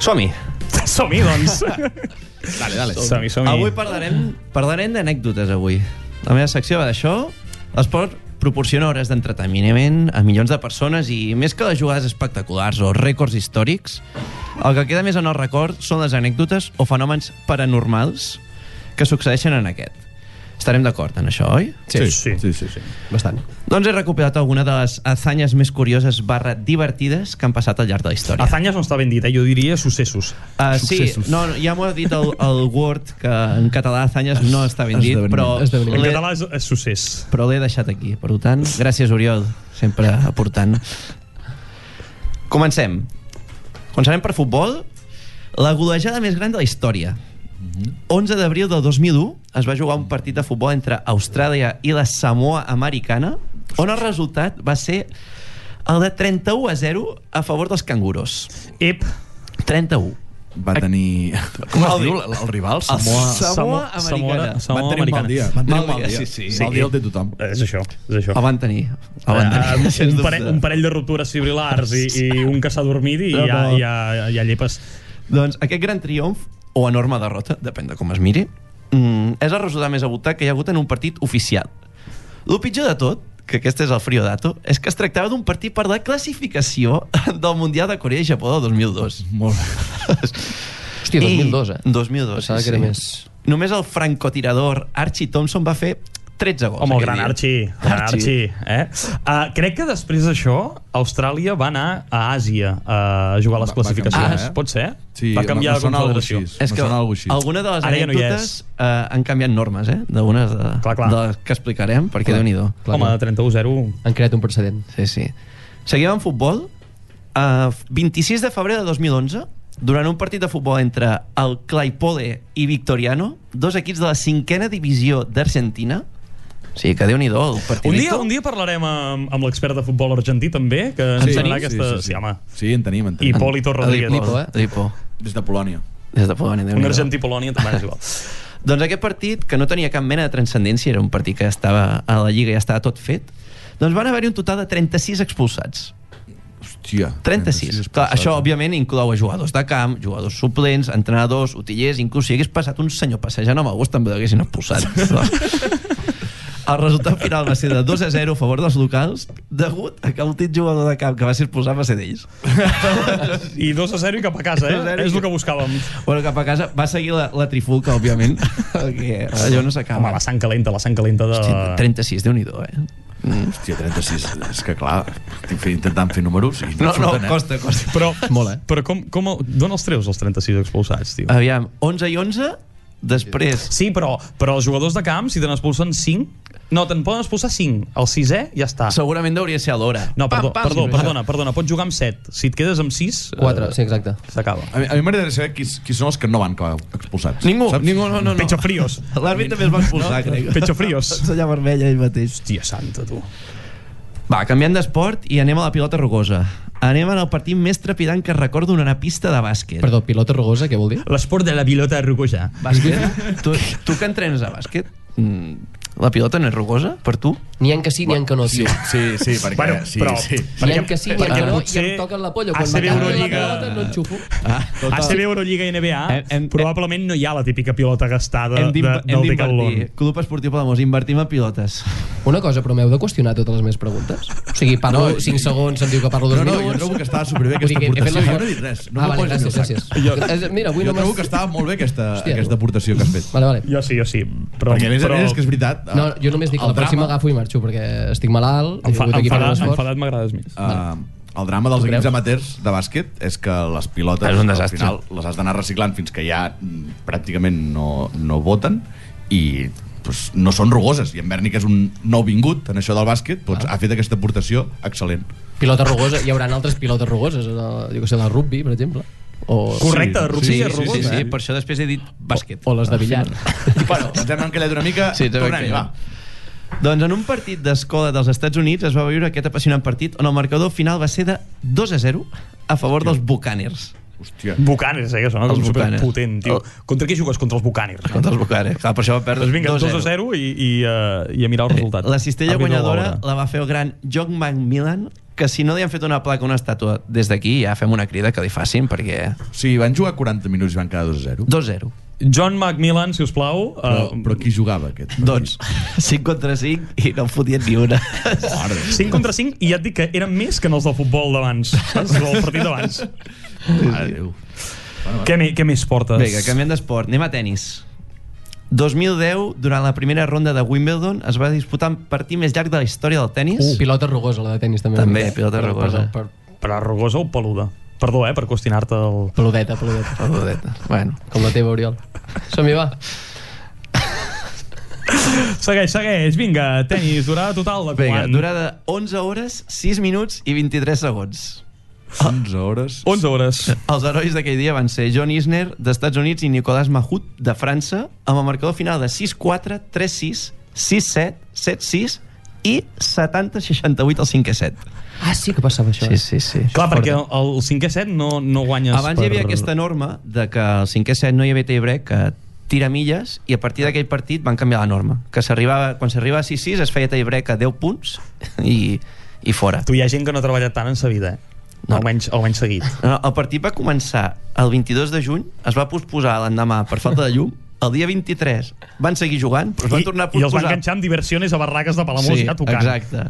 Som-hi.
Som-hi, doncs.
Dale, dale.
som-hi, som-hi.
Avui parlarem, parlarem d'anècdotes, avui. La meva secció va d'això. L'esport proporciona hores d'entreteniment a milions de persones i més que les jugades espectaculars o rècords històrics, el que queda més en el record són les anècdotes o fenòmens paranormals que succeeixen en aquest. Estarem d'acord en això, oi?
Sí, sí.
sí, sí, sí.
Bastant.
Doncs he recopilat alguna de les azanyes més curioses barra divertides que han passat al llarg de la història.
Azanyes no està ben dit, eh? jo diria successos.
Uh, sí,
Successos.
no, no, ja m'ho ha dit el, el Word, que en català Azanyes no està ben dit,
Esdeveniment.
però
Esdeveniment.
En
l'he-
català és, és succés.
però l'he deixat aquí. Per tant, gràcies, Oriol, sempre aportant. Comencem. Començarem per futbol. La golejada més gran de la història.
Mhm.
11 d'abril del 2001 es va jugar un partit de futbol entre Austràlia i la Samoa Americana, on el resultat va ser el de 31 a 0 a favor dels canguros.
Ep,
31.
Va tenir... Com es diu el, el rival? Samoa...
Samoa Americana.
Samoa
Van tenir un mal dia.
Americana.
Van tenir un
Mal
mal
dia,
dia.
sí, sí.
Mal dia el té tothom.
És això, és això.
El van tenir. El van
Ah,
tenir. sens
un, parell,
dubte.
un parell de ruptures fibrilars i, i un que s'ha dormit i
No,
ja,
no.
ja, ja llepes.
Doncs aquest gran triomf, o enorme derrota, depèn de com es miri, mm, és el resultat més avortat que hi ha hagut en un partit oficial. El pitjor de tot, que aquest és el Friodato, és que es tractava d'un partit per la classificació del Mundial de Corea i Japó del 2002.
Molt bé.
Hòstia, 2002, eh?
2002,
Pensava que era més...
Només el francotirador Archie Thompson va fer 13 gols.
Home, el
aquell
gran
dia.
Archie. Gran Archie. eh? Uh, crec que després d'això, Austràlia va anar a Àsia a jugar a les
Va- va
classificacions.
canviar, eh?
Pot ser?
Sí,
va canviar
em- em
de
sona algo
confederació.
així.
És
Em
que
sona algo així.
alguna de les
Ara ja no hi
anècdotes ja eh, han canviat normes, eh? D'algunes de,
Clar, clar.
de les que explicarem, perquè déu-n'hi-do.
Clar,
Home,
clar.
31-0.
Han creat un precedent.
Sí, sí. Seguim amb futbol. Uh, 26 de febrer de 2011, durant un partit de futbol entre el Claipole i Victoriano, dos equips de la cinquena divisió d'Argentina. O sigui, que déu-n'hi-do el partidito.
Un dia, un dia parlarem amb, amb l'expert de futbol argentí, també, que ens sí, donarà aquesta... Sí, sí, sí. home.
Sí, en tenim, en tenim.
Hipòlito Rodríguez.
Lipo, eh?
Lipo.
Des de Polònia.
Des de Polònia, déu
Un
nhi
argentí-Polònia també és igual.
Doncs aquest partit, que no tenia cap mena de transcendència, era un partit que estava a la Lliga i ja estava tot fet, doncs van haver-hi un total de 36 expulsats.
Hòstia.
36. Clar,
expulsats.
això, òbviament, inclou a jugadors de camp, jugadors suplents, entrenadors, utillers, inclús si hagués passat un senyor passejant amb el gos també l'haguessin expulsat. El resultat final va ser de 2 a 0 a favor dels locals, degut a que l'últim jugador de camp que va ser expulsat va ser d'ells.
I 2 a 0 i cap a casa,
2 a 0
eh?
i
És el
cap-
que buscàvem.
Bueno, cap a casa va seguir la, la trifulca, òbviament, perquè allò no
Home,
s'acaba.
la sang calenta, la sang calenta de...
Hosti, 36, déu-n'hi-do, eh?
Hòstia, 36. És que, clar, estic fent- intentant fer números i
No, no,
surten, eh?
costa, costa.
Però,
Molt, eh?
però com, com d'on els treus els 36 expulsats, tio?
Aviam, 11 i 11, després...
Sí, però, però els jugadors de camp, si te n'expulsen 5... No, te'n poden expulsar 5. El sisè ja està.
Segurament hauria de ser a l'hora.
No, perdó,
Pam, pam,
perdó,
sí,
perdona, perdona, pots jugar amb 7. Si et quedes amb 6...
4, sí, exacte.
S'acaba.
A mi, a mi m'agradaria saber qui, qui són els que no van acabar expulsats.
Ningú.
Saps?
Ningú, no, no, no.
Pecho fríos.
L'àrbitre també es va expulsar, no, crec.
Pecho fríos.
Sella vermella ell mateix.
Hòstia santa, tu.
Va, canviant d'esport i anem a la pilota rugosa. Anem en el partit més trepidant que recordo en una pista de bàsquet.
Perdó, pilota rugosa, què vol dir?
L'esport de la pilota rugosa.
Bàsquet? tu, tu que entrenes a bàsquet, mm, la pilota no és rugosa per tu?
N'hi ha que sí, n'hi ha que no,
Sí,
tio.
sí, sí, perquè...
Bueno,
sí,
però-
sí.
N'hi ha que Eh, sí, n'hi ha que
Perquè
no, i
potser
em toquen la polla. Quan
ACB
m'acaba la
Euroliga-
pelota no en xufo.
ACB, Eurolliga i NBA,
Hem- hem-
probablement no hi ha la típica pilota gastada
Hem
de,
d'inver- hem
del Decathlon.
d'invertir. Club Esportiu Palamós, invertim en pilotes.
Una cosa, però m'heu de qüestionar totes les meves preguntes? O sigui, parlo
No,
5 segons, em diu que parlo 2
No, no, jo
minuts...
trobo que estava superbé aquesta
que he fet
aportació.
l'esforç.
Jo no he dit res. No
ah,
m'ho
vale,
posis al
gràcies,
sac.
gràcies. Eh, Mira, avui
Jo
només...
trobo que estava molt bé aquesta,
Hòstia,
aquesta aportació que has fet.
Vale, vale.
Jo sí, jo sí. Però,
Perquè a més a
però
més és que és veritat.
No, jo només dic que
el
la pròxima
drama-
agafo i marxo, perquè estic malalt, he
enfa-
vingut aquí per
enfadat,
l'esforç.
enfadat m'agrades més.
Eh, el drama dels
Ho
equips
creus?
amateurs de bàsquet és que les pilotes
És un
al
desastre.
final les has d'anar reciclant fins que ja mm, pràcticament no, no voten i pues, no són rugoses i en Berni que és un nou vingut en això del bàsquet doncs,
Ah.
ha fet aquesta aportació excel·lent
Pilota rugosa, hi haurà altres pilotes rugoses, eh, jo que sé, la rugby, per exemple, o,
Correcte, Rubí
Sí,
és
sí, sí,
rugosa. eh?
sí, per això després he dit bàsquet.
o les de billar.
bueno, ens hem encallat una mica
Sí,
sí,
ens hem
tornem-hi, va
encallat. Doncs en un partit d'escola dels Estats Units es va viure aquest apassionant partit on el marcador final va ser de 2 a 0 a favor dels Buccaneers.
hòstia
Bucanes, eh, que sona
Els
com
Bucanes.
superpotent, tio.
El-
Contra qui jugues? Contra els Bucanes.
Contra els Buccaneers. Clar, per això va perdre
Doncs vinga, 2 a 0 i, i, uh, i a mirar el resultat.
Eh, La cistella
Àrbitre
guanyadora
Laura.
la va fer el gran John McMillan, que si no li han fet una placa o una estàtua des d'aquí, ja fem una crida que li facin, perquè...
sí, van jugar 40 minuts i van quedar 2-0
2 0.
John McMillan, si us plau.
però,
Uh,
però qui jugava aquest?
Doncs 5 contra 5 i no en fotien ni una.
Mare de
5 contra 5 i ja et dic que eren més que en els del futbol d'abans, saps? del partit d'abans.
Mare de Déu.
Què, mi- què més portes?
Vinga, canviem d'esport. Anem a tennis. 2010, durant la primera ronda de Wimbledon, es va disputar un partit més llarg de la història del tennis.
Uh, pilota rugosa, la de tennis també.
També,
una mica.
pilota
Per-
rugosa.
Per,
Però rugosa o peluda? Perdó, eh, per qüestionar-te el...
per, peludeta, peludeta.
Peludeta. Bueno.
Com la teva, Oriol. Som-hi, va.
Segueix, segueix, vinga, tenis, durada total de
Vinga,
quan?
durada 11 hores, 6 minuts i 23 segons.
11 hores
11 hores.
Els herois d'aquell dia van ser John Isner, d'Estats Units, i Nicolas Mahut, de França, amb el marcador final de 6-4, 3-6, 6-7, 7-6 i 70-68 al 5 set.
Ah, sí que passava això. eh?
sí, sí.
Clar, perquè el, el cinquè set no, no guanyes
Abans
per...
hi havia aquesta norma de que al cinquè set no hi havia tiebreak, que tira milles, i a partir d'aquell partit van canviar la norma. Que s'arribava, quan s'arribava a 6-6 es feia tiebreak a 10 punts i, i fora.
Tu hi ha gent que no ha treballat tant en sa vida, eh?
No.
Almenys, almenys seguit.
No, no, El partit va començar el 22 de juny, es va posposar l'endemà per falta de llum, el dia 23 van seguir jugant, però es van tornar a
I, I els van
posposar.
enganxar amb diversiones a barraques de Palamós ja tocant.
Exacte.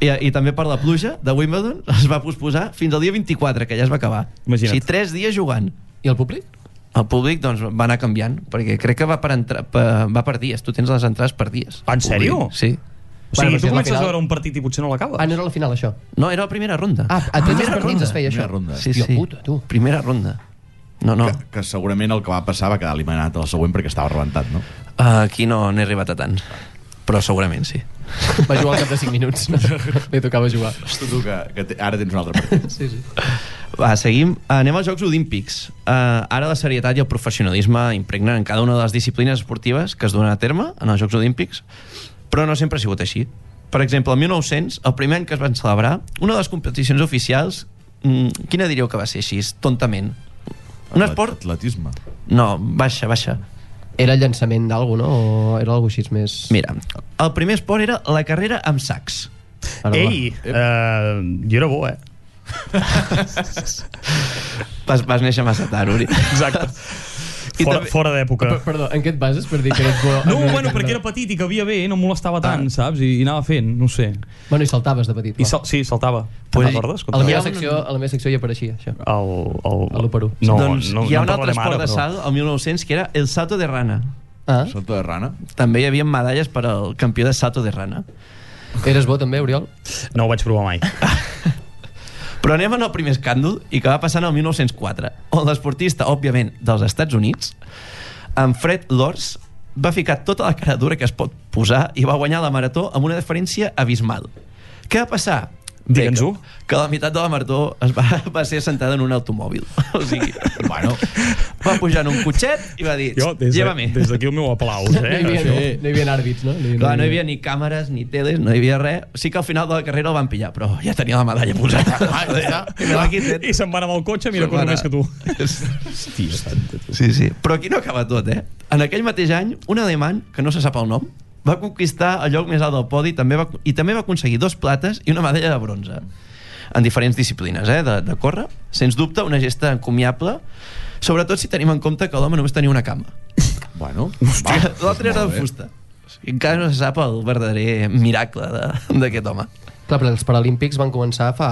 I, I també per la pluja de Wimbledon es va posposar fins al dia 24, que ja es va acabar.
Imagina't.
O sigui, tres dies jugant.
I el públic?
El públic doncs, va anar canviant, perquè crec que va per, entra... per... va per dies. Tu tens les entrades per dies.
Ah, En sèrio?
Sí.
O sigui,
Bueno, però si
tu
és la
comences
final-
a veure un partit i potser no l'acabes.
Ah, no era la final, això.
No, era la primera ronda.
Ah, a tots els
primera
partits es feia això.
primera ronda.
Sí,
Hòstia
sí.
puta, tu.
Primera ronda. No, no.
que, que segurament el que va passar va quedar eliminat a la següent perquè estava rebentat, no?
Uh, aquí no n'he arribat a tant. Però segurament sí.
Va jugar al cap de 5 minuts. Li tocava jugar.
Tu, tu que, que te- ara tens un altre partit.
Sí, sí.
Va, seguim. Eh, Anem als Jocs Olímpics. Uh, ara la serietat i el professionalisme impregnen en cada una de les disciplines esportives que es donen a terme en els Jocs Olímpics, però no sempre ha sigut així. Per exemple, el 1900, el primer any que es van celebrar, una de les competicions oficials, mm, quina diríeu que va ser així, tontament? Un esport?
Atletisme.
No, baixa, baixa.
Era el llançament d'algú, no? O era algo així més...
Mira, el primer esport era la carrera amb sacs.
Ara, va.
Ei, eh, jo era bo, eh?
Vas, vas néixer massa tard, Uri.
Exacte.
I
fora
també-
fora d'època.
Per- Perdó, en què et bases per dir que ets bo?
No, bueno, perquè era petit i que havia bé, eh? no em molestava tant, saps? I, i anava fent, no ho sé.
Bueno, i saltaves de petit.
I
va.
sal, sí, saltava.
Pues-
Pues, T'acordes?
A la,
hi ha
meva
un-
secció, a la meva secció hi apareixia, això.
El, el,
A l'U-Perú.
No,
doncs
no,
hi ha
no
un
en
altre
parlarem
esport
ara,
de
però-
salt, el 1900, que era el salto de rana.
Ah,
Salto de rana.
També hi havia medalles per al campió de salto de rana.
Ah? eres bo també, Oriol?
No ho vaig provar mai.
Però anem al primer escàndol i que va passar en el 1904, on l'esportista, òbviament, dels Estats Units, en Fred Lors, va ficar tota la cara dura que es pot posar i va guanyar la marató amb una diferència abismal. Què va passar? Bé,
Digue'ns-ho.
Que, que la meitat de la marató es va, va ser sentada en un automòbil. O sigui, bueno, va pujar en un cotxet i va dir,
Jo, des de-
lleva-me.
des d'aquí el meu aplaus,
No hi
eh?
havia,
Això.
no, no hi havia àrbits, no? No hi
Clar, no hi havia ni càmeres, ni teles, no hi havia res. Sí que al final de la carrera el van pillar, però ja tenia la medalla posada.
Ah,
Me l'ha quitat.
I se'n van amb el cotxe, mira,
Se'n
cosa
van a-
més que tu.
Sí, sí. Però aquí no acaba tot, eh? En aquell mateix any, un alemany, que no se sap el nom, va conquistar el lloc més alt del podi també va, i també va aconseguir dos plates i una medalla de bronze en diferents disciplines eh, de, de córrer. Sens dubte, una gesta encomiable, sobretot si tenim en compte que l'home només tenia una cama.
Bueno,
Hòstia, l'altre era de
molt bé.
fusta. O sigui, Encara no se sap el verdader miracle de- d'aquest home.
Clar, però els Paralímpics van començar fa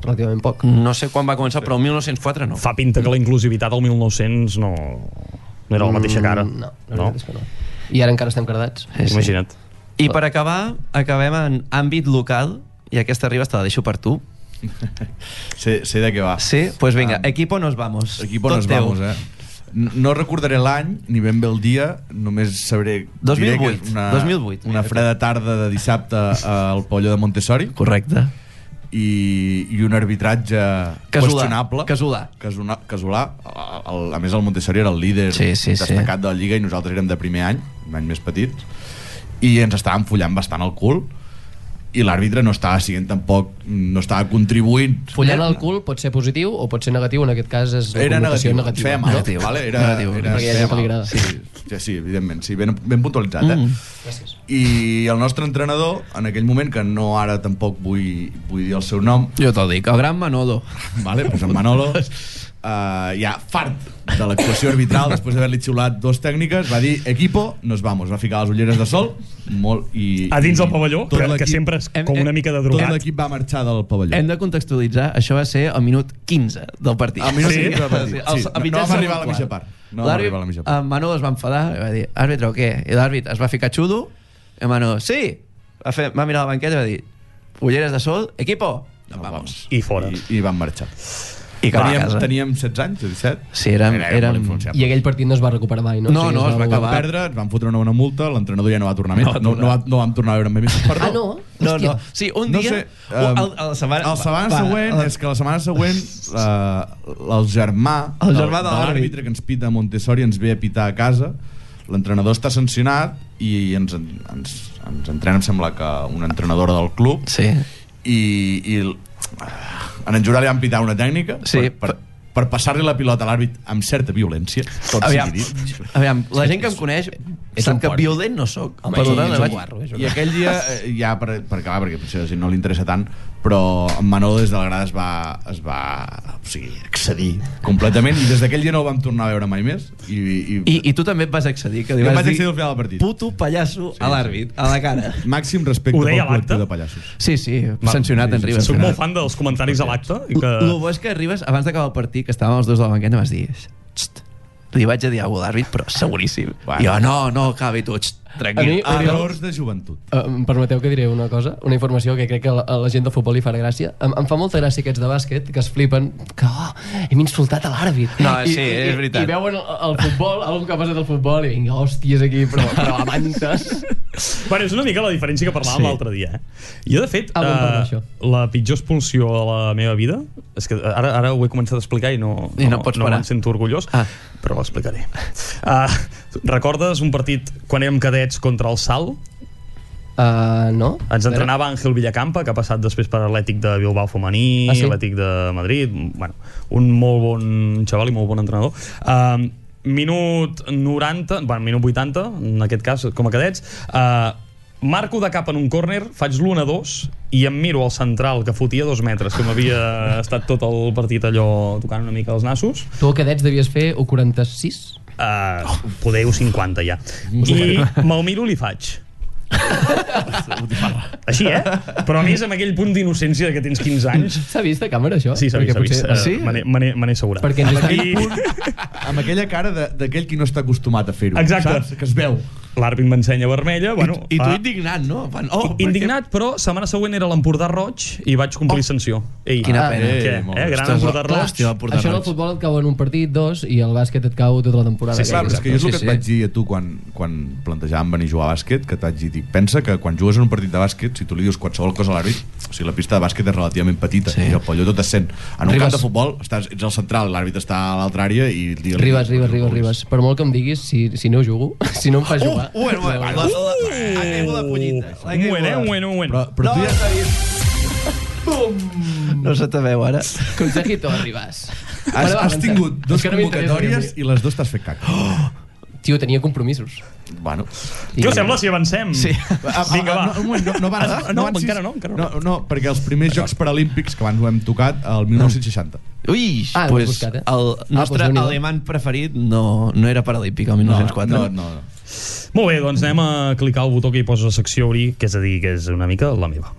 relativament poc.
No sé quan va començar, però el 1904 no.
Fa pinta que la inclusivitat del 1900 no, no era la mateixa cara.
Mm, No, la veritat és que no. I ara encara estem cardats.
Sí, sí.
Imagina't.
I per acabar, acabem en àmbit local, i aquesta arriba te la deixo per tu.
Sé, sé de què va.
Sí? Doncs pues vinga, equipo nos vamos.
Ah. Equipo
Tot
nos
teu.
vamos, eh? N- No recordaré l'any, ni ben bé el dia, només sabré... diré que és
2008, 2008.
Una freda tarda de dissabte al Pollo de Montessori
Correcte.
i, i un arbitratge
Casolà,
qüestionable.
casolà.
Casula, casolà. A, a, a més, el Montessori era el líder
Sí, sí, sí.
destacat de la Lliga i nosaltres érem de primer any, un any més petit, i ens estàvem follant bastant el cul i l'àrbitre no estava sent tampoc no estava contribuint
Follant el cul pot ser positiu o pot ser negatiu, en aquest cas és la
era
connotació
negatiu,
negativa.
negativa. feia mal,
Negatiu.
Vale? Era,
Negatiu.
era,
Perquè hi ha gent
feia
que li
mal.
agrada.
Sí, sí, sí, evidentment, sí, ben, ben puntualitzat. Eh?
Mm.
I el nostre entrenador, en aquell moment, que no ara tampoc vull, vull dir el seu nom,
Jo te'l dic, el gran Manolo.
vale, pues en Manolo, uh, ja fart de l'actuació arbitral, després d'haver-li xiulat dos tècniques, va dir, equipo, nos vamos. Va ficar les ulleres de sol, molt, i...
A dins del
i
pavelló,
tot
que, que
l'equip-
sempre és
Hem-
com una mica de
Tot
drogat.
l'equip va marxar del pavelló.
Hem de contextualitzar, això va ser al minut 15 del partit.
Al minut
Sí.
15 del partit,
Els- a
sí. No-
mitjan
no vam
segon
arribar a la mitja
quart.
part. No vam
L'àrbi-
arribar a la mitja part.
En Manolo es va enfadar i va dir, àrbitre, o què? I l'àrbitre es va ficar xudo i el Manolo, sí! Va, fer, va mirar la banqueta i va dir, ulleres de sol, equipo!
No, Doncs vamos.
I fora.
I, i van marxar.
I cap a
Teníem,
casa.
teníem 16 anys o 17?
Sí, érem- érem-
molt influenciables.
I aquell partit no es va recuperar mai, no?
No, no, es va
Vam
acabar.
perdre, ens van fotre una bona multa, l'entrenador ja no va tornar més.
No va
No, no,
tornar.
va, no vam tornar a veure més. Perdó.
Ah, no?
No,
Hòstia.
no. Sí, un
No
dia...
sé,
o
um,
el, a la setmana,
la setmana
va,
següent,
a la-
és que la setmana següent eh, el germà,
El
del-
germà de l'àrbitre.
que ens pita a Montessori ens ve a pitar a casa, l'entrenador està sancionat i ens, ens, ens entrena, em sembla que una entrenadora del club,
Sí.
i, i l- en en Jurà li van pitar una tècnica
Sí,
per, per, per passar-li la pilota a l'àrbit amb certa violència, tot
Aviam,
sigui dit.
aviam, la gent que em coneix
és
sap
un
que
guarro.
violent no sóc.
Home,
Perdona,
és un
vaig-
guarro, és un
I aquell dia, eh, ja per, per acabar, perquè potser si no li interessa tant, però en Manolo des de la grada es va, es va o sigui, accedir completament i des d'aquell dia no el vam tornar a veure mai més. I, i,
I, I tu també et vas accedir, que li
Jo
vas,
em vaig
dir
accedir al final del partit.
puto pallasso sí, a l'àrbit, a la cara.
Màxim respecte
Ho deia
pel
l'acte?
col·lectiu de pallassos.
Sí, sí, sancionat en Ribas.
Soc molt fan dels comentaris a l'acte. i que...
El bo és que arribes, abans d'acabar el partit, que estàvem els dos de la banqueta, vas dir... "Xt". Li vaig a dir alguna cosa a l'àrbit, però seguríssim. Bueno.
Bueno.
Jo, no, no, acabi tu, xt,
A
tranquil.
mi-
Ah,
Errors de joventut.
Eh, Em permeteu que diré una cosa, una informació que crec que a la- a la gent del futbol li farà gràcia. Em, em fa molta gràcia aquests de bàsquet que es flipen que oh, hem insultat a l'àrbit.
No,
I-
sí,
i,
és veritat.
I, i veuen el, el futbol, algun que ha passat al futbol i vinga, hòsties aquí, però, però a mantes.
Bueno, és una mica la diferència que parlàvem sí. l'altre dia. Eh? Jo, de fet,
Ah, bon per
eh,
això.
la pitjor expulsió a la meva vida, és que ara, ara ho he començat a explicar i no,
I no pots
no
parar.
me'n sento orgullós,
Ah.
ah. però l'explicaré. Uh, recordes un partit quan érem cadets contra el Sal?
Uh, no?
Ens entrenava Àngel Villacampa, que ha passat després per Atlètic de Bilbao Femení,
Ah,
ah,
sí?
sí? Atlètic de Madrid, bueno, un molt bon xaval i molt bon entrenador. Uh, minut 90, bueno, minut 80, en aquest cas, com a cadets, uh, marco de cap en un córner, faig l'1-2 i em miro al central, que fotia dos metres, que m'havia estat tot el partit allò tocant una mica els nassos,
Tu a cadets devies fer o 46?
uh, podeu 50 ja. I me'l miro i li faig. Així, eh? Però a més, amb aquell punt d'innocència de que tens 15 anys...
S'ha vist a càmera, això?
Sí, s'ha
Perquè
vist, s'ha vist.
potser- Ah,
Eh, Me n'he- me n'he- me n'he assegurat.
Perquè ens estan...
I
Amb aquella cara de- d'aquell qui no està acostumat a fer-ho.
Exacte.
Saps? Que es veu.
l'àrbit m'ensenya vermella, bueno...
I tu
ah,
indignat, no? En plan, Oh,
Indignat, però setmana següent era l'Empordà Roig i vaig complir sanció. Ei,
Quina pena.
Què?
Eh, molt
Eh,
bé.
gran
Ostres,
Empordà
clar,
Roig.
Ah, hòstia, el Empordà
Això en el
Roig.
futbol et cau en un partit, dos, i el bàsquet et cau tota la temporada.
Sí, clar, però és que jo és el
Sí,
que
sí.
et vaig dir a tu quan, quan plantejàvem venir a jugar a bàsquet, que et vaig dir, dic, pensa que quan jugues en un partit de bàsquet, si tu li dius qualsevol cosa a l'àrbit, o sigui, la pista de bàsquet és relativament petita
Sí.
sí. i el pollo tot es sent. En un
Ribas.
Ribas. camp de futbol estàs, ets al central, l'àrbit està a l'altra àrea i... Digues,
Ribas, Ribas, Ribas, Ribas. Per molt que em diguis, si, si no jugo, si no em
Ah,
fa jugar...
Uh, bueno, bueno, la, la, la, ha caigut la pollita. Ha
Un
caigut
moment, eh?
la-
Un moment, un moment.
Però, però no. tu ja...
No se te veu ara.
Consejito, Ribas.
Has, has tingut dos convocatòries i les dues t'has fet caca. Oh,
Tio, tenia compromisos.
Bueno.
Què us sembla si avancem? Sí. Vinga, va.
No, un moment, no, no va
Ah, no, encara no, encara no.
no. No, perquè els primers Jocs Paralímpics que abans ho hem tocat, el 1960.
Ui,
Ah,
ah,
l'has
pues,
buscat, eh? Ah,
el nostre ah,
pues
pues,
Déu-n'hi-do.
alemany preferit no, no era paralímpic el 1904.
No, no, no.
Molt bé, doncs anem a clicar el botó que hi posa secció obrir, que és a dir, que és una mica la meva.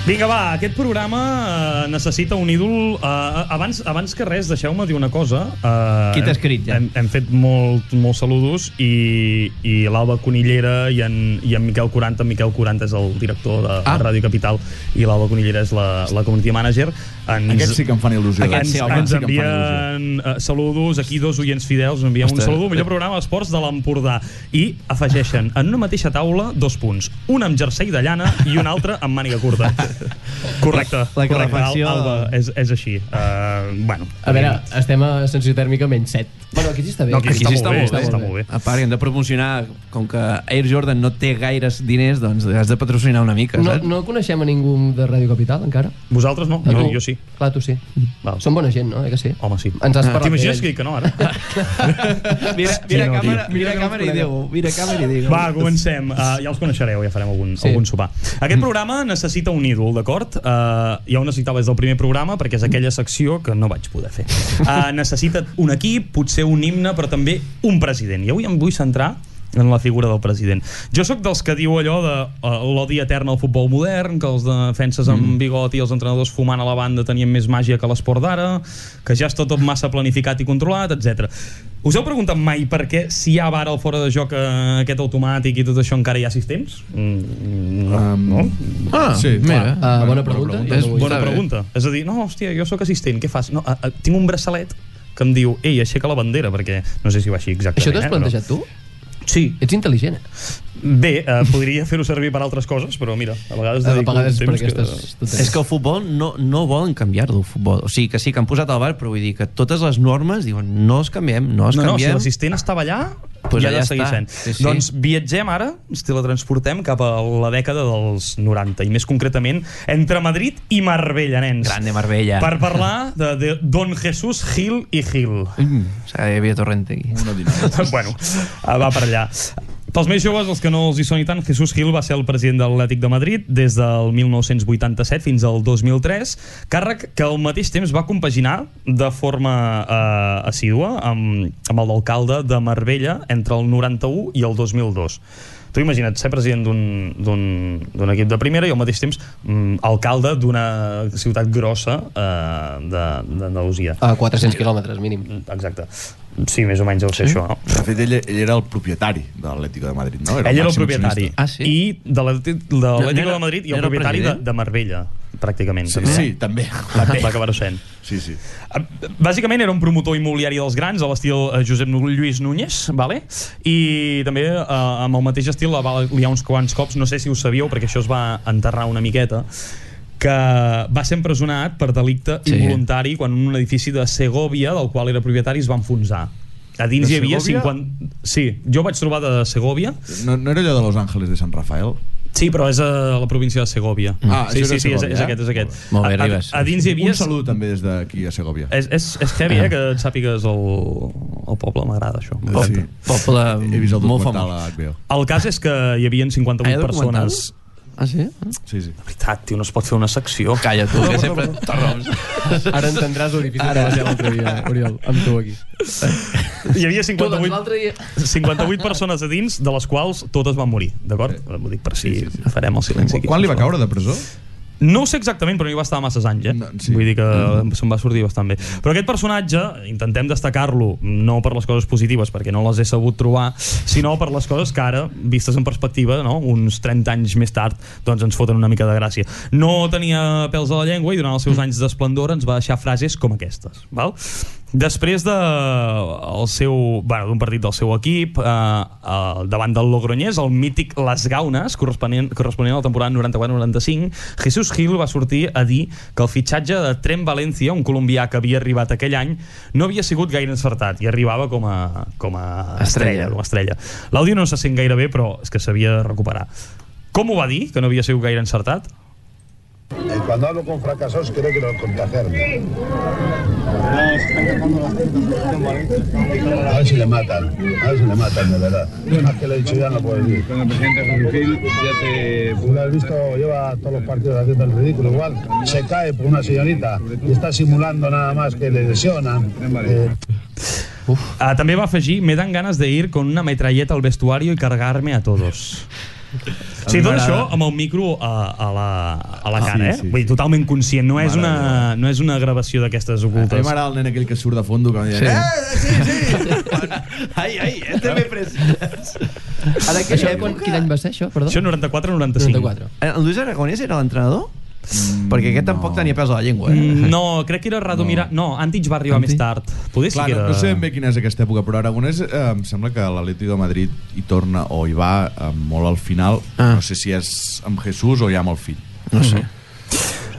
Vinga, va, aquest programa eh, necessita un ídol. Eh, abans, abans que res, deixeu-me dir una cosa. Eh,
Qui t'ha
hem-
escrit, ja?
Hem, hem fet molt, molts saludos i, i l'Alba Conillera i en, i en Miquel 40. En Miquel 40 és el director de ah.
Ah.
Ràdio Capital i l'Alba Conillera és la, la community manager. Ens,
Aquests sí que em fan il·lusió.
ens,
eh?
Aquests sí, home,
ens
sí que em fan il·lusió.
envien eh, saludos, aquí dos oients fidels, ens envien
Ostres.
un saludo, millor programa d'esports de l'Empordà. I afegeixen en una mateixa taula dos punts, un amb jersei de llana i un altre amb màniga curta. Correcte,
La
correcte,
calefacció-
Al- Alba, és, és així. Uh, bueno,
A veure, estem a sensació tèrmica menys 7. Bueno, aquí sí està bé.
No, aquí sí està molt bé,
està
està
molt
molt bé.
A part, hem de promocionar, com que Air Jordan no té gaires diners, doncs has de patrocinar una mica,
No,
saps?
no coneixem a ningú de Ràdio Capital, encara?
Vosaltres no?
A
Jo,
tu?
jo sí.
Clar, tu sí.
Val.
Som bona gent, no? Eh que sí?
Home, sí.
Ens has
Ah,
parlat
T'imagines que
d'ell.
dic que no, ara?
Mira,
mira Sí, no, càmera-
tio. mira càmera i diu,
mira càmera i diu.
Va, comencem. Uh, ja els coneixereu, ja farem algun,
Sí.
sí. algun sopar. Aquest programa necessita un ídol, d'acord? Uh, ja ho necessitava des del primer programa, perquè és aquella secció que no vaig poder fer. Uh, necessita un equip, potser un himne, però també un president. I avui em vull centrar en la figura del president. Jo sóc dels que diu allò de uh, l'odi etern al futbol modern, que els defenses amb bigot i els entrenadors fumant a la banda tenien més màgia que l'esport d'ara, que ja està tot massa planificat i controlat, etc. Us heu preguntat mai per què si hi ha vara al fora de joc eh, aquest automàtic i tot això encara hi ha sistems? Mm, no.
Um,
no?
Ah,
Sí,
sí, mira.
clar.
Ah,
Bueno,
bona
bona
pregunta.
pregunta.
jo no
És
vull
bona
Bona
saber.
bé.
pregunta. És a dir, no, hòstia, jo sóc assistent, què fas? No, a, a, tinc un braçalet que em diu, ei, aixeca la bandera, perquè no sé si va així exactament.
Això t'ho has
eh, però-
plantejat tu?
Sí,
Ets intel·ligent, eh?
Bé, eh, podria fer-ho servir per altres coses, però mira, a vegades...
A
dedico
vegades
un
per
temps que-
aquestes... tonteries.
És que el futbol no, no volen canviar-lo, el futbol. O sigui, que sí, que han posat el bar, però vull dir que totes les normes diuen no es canviem, no es
No, no, si
canviem.
l'assistent estava allà,
Pues
pues ja ha
allà
de seguir
està.
sent.
Sí, sí.
Doncs viatgem ara, ens teletransportem cap a la dècada dels 90, i més concretament entre Madrid i Marbella, nens.
Grande Marbella.
Per parlar de, de Don Jesús Gil i Gil.
Mm, o sigui, hi havia torrent aquí.
Una dinàmica.
bueno, eh, va per allà. Pels més joves, els que no els hi soni tant, Jesús Gil va ser el president de l'Atlètic de Madrid des del 1987 fins al 2003, càrrec que al mateix temps va compaginar de forma eh, assídua amb, amb el d'alcalde de Marbella entre el 91 i el 2002. Tu imagina't ser president d'un- d'un d'un equip de primera i al mateix temps mm, alcalde d'una ciutat grossa eh, de- d'Andalusia.
A 400 quilòmetres, mínim.
Exacte. Sí, més o menys deu ser sí? això, no?
De fet, ell, ell era el propietari de l'Atlético de Madrid, no?
Ell era el
màxim
propietari.
accionista.
Ah, sí?
I de l'Atlético de,
No, no
l'Atlético
era-
de Madrid i
no
el
era el
propietari de,
president?
de Marbella, pràcticament.
Sí,
també.
sí, també.
també. Va acabar-ho sent.
Sí, sí.
Eh, Bàsicament era un promotor immobiliari dels grans, a l'estil eh, Josep Lluís Núñez, vale? i també eh, amb el mateix estil la va liar uns quants cops, no sé si ho sabíeu, perquè això es va enterrar una miqueta, que va ser empresonat per delicte
Sí.
sí. involuntari quan un edifici de Segovia, del qual era propietari, es va enfonsar. A dins
De
hi havia
Segòvia?
50... Sí, jo vaig trobar de Segovia,
No, no era allò de Los Ángeles de San Rafael?
Sí, però és a la província de Segovia.
Ah,
sí,
això
sí,
és
sí,
de
és,
Segòvia,
és
eh?
aquest, és aquest.
Molt
A-
bé,
a-
Arribas.
A, dins hi havia...
Un salut també des d'aquí a Segovia.
És, és, és heavy, eh, que et sàpigues el, el poble, m'agrada això.
Ah. Sí.
m'encanta.
Poble
He vist el
molt
documental
famós.
a HBO.
El cas és que hi havia
Ah,
58
hi ha documental?
persones...
Ah, sí?
Sí, sí.
De veritat, tio, no es pot fer una secció.
Calla, tu, que sempre t'arroms.
Ara entendràs el difícil que va ser l'altre dia, Oriol, amb tu aquí.
Hi havia
Tu, doncs
58,
l'altre dia...
58 persones a dins, de les quals totes van morir, d'acord? Ho dic per si
Sí, sí, sí.
farem el silenci aquí.
Quan li va caure de presó?
No ho sé exactament, però no hi va estar masses anys, eh? No,
No, sí. Mm.
sí. Vull dir que se'n va sortir bastant bé. Però aquest personatge, intentem destacar-lo, no per les coses positives, perquè no les he sabut trobar, sinó per les coses que ara, vistes en perspectiva, no? uns 30 anys més tard, doncs ens foten una mica de gràcia.
Mm.
No tenia pèls a la llengua i durant els seus anys d'esplendor ens va deixar frases com aquestes. Val? Després de, eh, el seu, bueno, d'un partit del seu equip, eh, eh, davant del Logroñés, el mític Les Gaunes, corresponent, corresponent a la temporada 94-95, Jesús Gil va sortir a dir que el fitxatge de Trem València, un colombià que havia arribat aquell any, no havia sigut gaire encertat i arribava com a, com a
Estrella.
com a estrella. L'àudio no se sent gaire bé, però és que s'havia de recuperar. Com ho va dir, que no havia sigut gaire encertat?
Y cuando hablo con fracasados creo que lo contagiarme. A ver si le matan, a ver si le matan de verdad. Más que lo he dicho ya no puedo decir. Con el presidente ya te... Lo has visto, lleva todos los partidos haciendo el ridículo igual. Se cae por una señorita y está simulando nada más que le lesionan. Eh,
Uh, també va afegir, me dan ganes de ir con una metralleta al vestuario y cargarme a todos. Sí, tot això amb el micro a, a, la, a la cara,
Ah,
eh?
sí, sí, Ah,
Vull dir, totalment conscient. No és una, no és una gravació d'aquestes
A mi
ocultes.
m'agrada el nen aquell que surt de fondo que em diuen, eh,
Ai, ai, este me presses. En
Això,
aquella
quan,
època...
quin any va ser, això? Perdó?
Això 94-95.
94.
El Eh, Luis Aragonés era l'entrenador? Perquè aquest tampoc tenia pes a la llengua. Eh?
Mm, No, crec que era Radomira... No, Antic va arribar més tard. Poder sí
Clar,
que
no,
era...
no sé ben bé quina és aquesta època, però Aragonès eh, em sembla que l'Atleti de Madrid hi torna o hi va eh, molt al final.
Ah.
Ah. No sé si és amb Jesús o ja amb el fill.
No sé.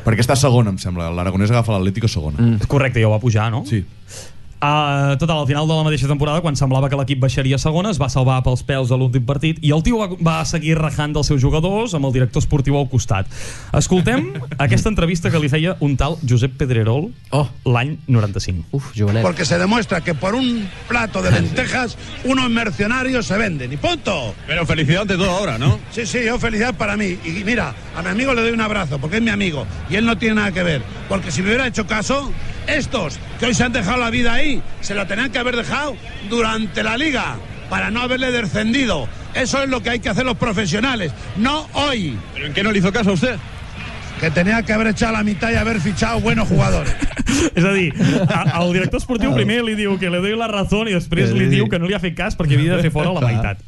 Perquè està segon, em sembla. L'Aragonès agafa l'Atlético segona. Mm.
Correcte, ja ho va pujar, no?
Sí.
Uh, total, al final de la mateixa temporada, quan semblava que l'equip baixaria a segona, es va salvar pels pèls de l'últim partit i el tio va, va seguir rajant dels seus jugadors amb el director esportiu al costat. Escoltem aquesta entrevista que li feia un tal Josep Pedrerol
Oh.
l'any 95.
Uf, jovenet.
Porque se demuestra que por un plato de lentejas unos mercenarios se venden. Y punto.
Pero felicidad ante todo ahora, ¿no?
Sí, sí, yo felicidad para mí. Y mira, a mi amigo le doy un abrazo porque es mi amigo y él no tiene nada que ver. Porque si me hubiera hecho caso, estos que hoy se han dejado la vida ahí, se la tenían que haber dejado durante la liga para no haberle descendido. Eso es lo que hay que hacer los profesionales, no hoy,
¿Pero en qué no le hizo caso a usted?
que tenía que haber echado la mitad y haber fichado buenos jugadores.
És a dir, a- el director esportiu primer li diu que li doy la razón i després li diu que no li ha fet cas perquè havia de fer fora la meitat.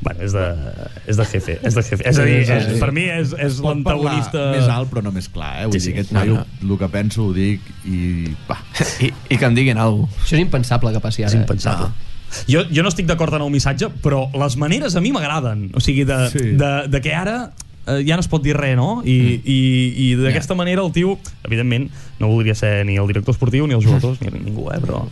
Bueno, és de, és de jefe, és de jefe. És a dir, és, per mi és, és
Pot parlar
l'antagonista...
més alt, però no més clar, eh? Vull
Sí,
sí,
sí.
dir, aquest
No,
paio,
no.
el que penso ho dic i... Pa.
I, I que em diguin alguna cosa.
Això és impensable que passi ara. eh?
És impensable.
No.
Jo, jo no estic d'acord en el missatge, però les maneres a mi m'agraden. O sigui, de, sí.
Sí.
de, de que ara eh, ja no es pot dir res, no? I, mm. i, i d'aquesta yeah. manera el tio, evidentment, no voldria ser ni el director esportiu, ni els jugadors, ni ningú, eh? Però...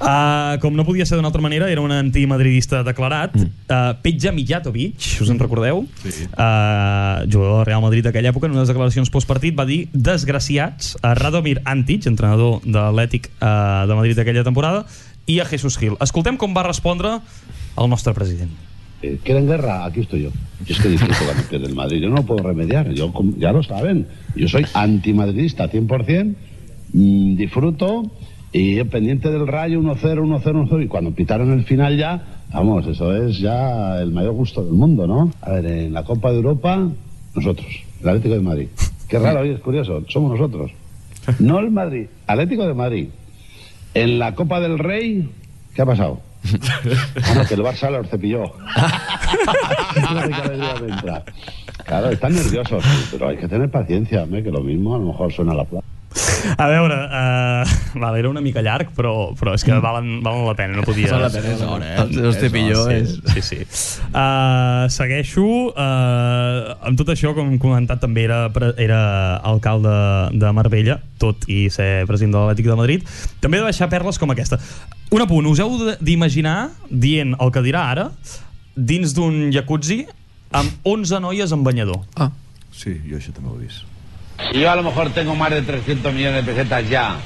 Uh, com no podia ser d'una altra manera, era un antimadridista declarat. Mm. Uh, Petja Mijatovic, us en recordeu?
Sí.
Uh, jugador del Real Madrid d'aquella època, en unes declaracions postpartit va dir desgraciats a Radomir Antic, entrenador de l'Atlètic uh, de Madrid d'aquella temporada, i a Jesús Gil. Escoltem com va respondre el nostre president.
Eh, ¿Quieren guerra? Aquí estoy yo. Y es que disfruto la victoria del Madrid. Yo no lo puedo remediar. Yo, com- ya lo saben. Yo soy antimadridista 100%. mm, disfruto. Y yo pendiente del rayo 1-0, 1-0, 1-0. Y cuando pitaron el final ya, vamos, eso es ya el mayor gusto del mundo, ¿no? A ver, en la Copa de Europa, nosotros, el Atlético de Madrid. Qué raro, oye, es curioso. Somos nosotros. No el Madrid, Atlético de Madrid. En la Copa del Rey, ¿qué ha pasado? Ah, no, que el Barça los cepilló. Fíjate qué alegría me entra. claro, están nerviosos, pero hay que tener paciencia, hombre, que lo mismo a lo mejor suena la plaza.
A veure, uh, val, era una mica llarg, però, però és que valen, valen la pena, no podia... Mm. Valen la pena,
eh? És hora,
Els teus tepilló és...
Sí, sí. Uh, segueixo. Uh, amb tot això, com hem comentat, també era, pre- era alcalde de Marbella, tot i ser president de l'Atlètic de Madrid. També de deixar perles com aquesta. Un apunt, us heu de- d'imaginar dient el que dirà ara dins d'un jacuzzi amb 11 noies en banyador.
Ah.
Sí, jo això també ho he vist.
Y yo a lo mejor tengo más de 300 millones de pesetas ya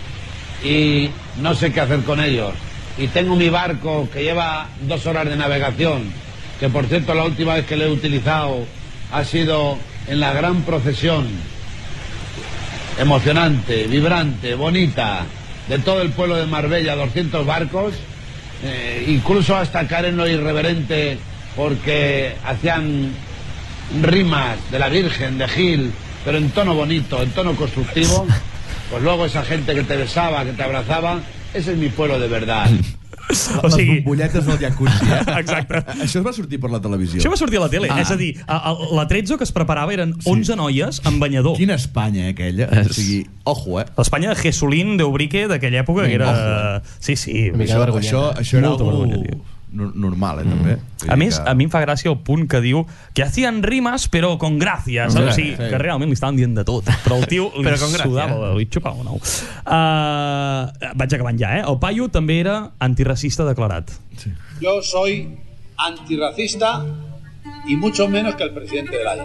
y no sé qué hacer con ellos. Y tengo mi barco que lleva dos horas de navegación, que por cierto la última vez que lo he utilizado ha sido en la gran procesión emocionante, vibrante, bonita, de todo el pueblo de Marbella, 200 barcos, eh, incluso hasta Karen lo irreverente porque hacían rimas de la Virgen, de Gil, pero en tono bonito, en tono constructivo, pues luego esa gente que te besaba, que te abrazaba, ese es mi pueblo de verdad.
O sigui,
Les bombolletes del jacuzzi, eh?
Exacte.
Això va sortir per la televisió.
això va sortir a la tele. Ah. És a dir, a, a, la 13 que es preparava eren 11 noies amb banyador.
Quina Espanya, eh, aquella. O sigui, ojo, eh?
L'Espanya de Jesulín, de Ubrique, d'aquella època, que era... Sí, sí.
Una
això-
mica de
Això,
vergonya.
això, això era
eh? Molta
algo
vergonya, tio. Mm.
nor- normal, eh, també. Vull
A
dir
més,
que-
a mi em fa gràcia el punt que diu que hacían rimes però con gracia, saps? O sigui,
Sí.
que realment li estaven dient de tot, però el tio li
Però con gracia.
sudava, li xupava un ou. Uh, vaig acabant ja, eh? El paio també era antiracista declarat.
Yo soy antirracista y mucho menos que el presidente de la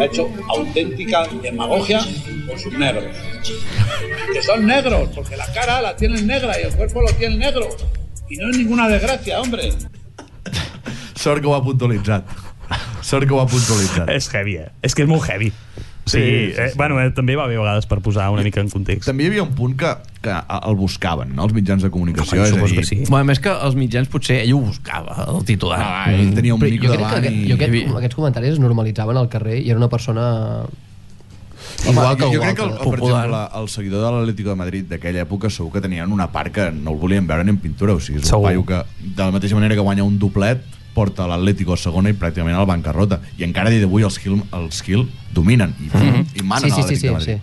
Ha hecho auténtica demagogia con sus negros. Que son negros, porque la cara la tienen negra y el cuerpo lo tiene negro. Y no es ninguna desgracia, hombre.
Sort que ho ha puntualitzat. Sort que ho ha puntualitzat.
És heavy, eh? És que és molt heavy. Sí, sí, sí, sí. Eh, bueno, eh, també va bé a vegades per posar una mica en context.
També hi havia un punt que, que a- el buscaven, no? els mitjans de comunicació.
Home,
és a
suposo
dir,
que sí.
Bueno, més que els mitjans potser ell ho buscava, el titular.
Ah, ell tenia un
Però
micro
jo crec que
davant
aquest,
i...
jo aquest, aquests comentaris es normalitzaven al carrer i era una persona
Home,
igual que
jo, jo
igual
crec que, el,
que
per
popular.
exemple, el seguidor de l'Atlético de Madrid d'aquella època segur que tenien una part que no el volien veure ni en pintura, o sigui, és un
Segur.
paio que de la mateixa manera que guanya un doblet porta l'Atlético a segona i pràcticament al bancarrota i encara a dia d'avui els Gil, els Gil dominen i, i
Mhm. Sí, sí, sí,
manen a l'Atlético de
sí,
Madrid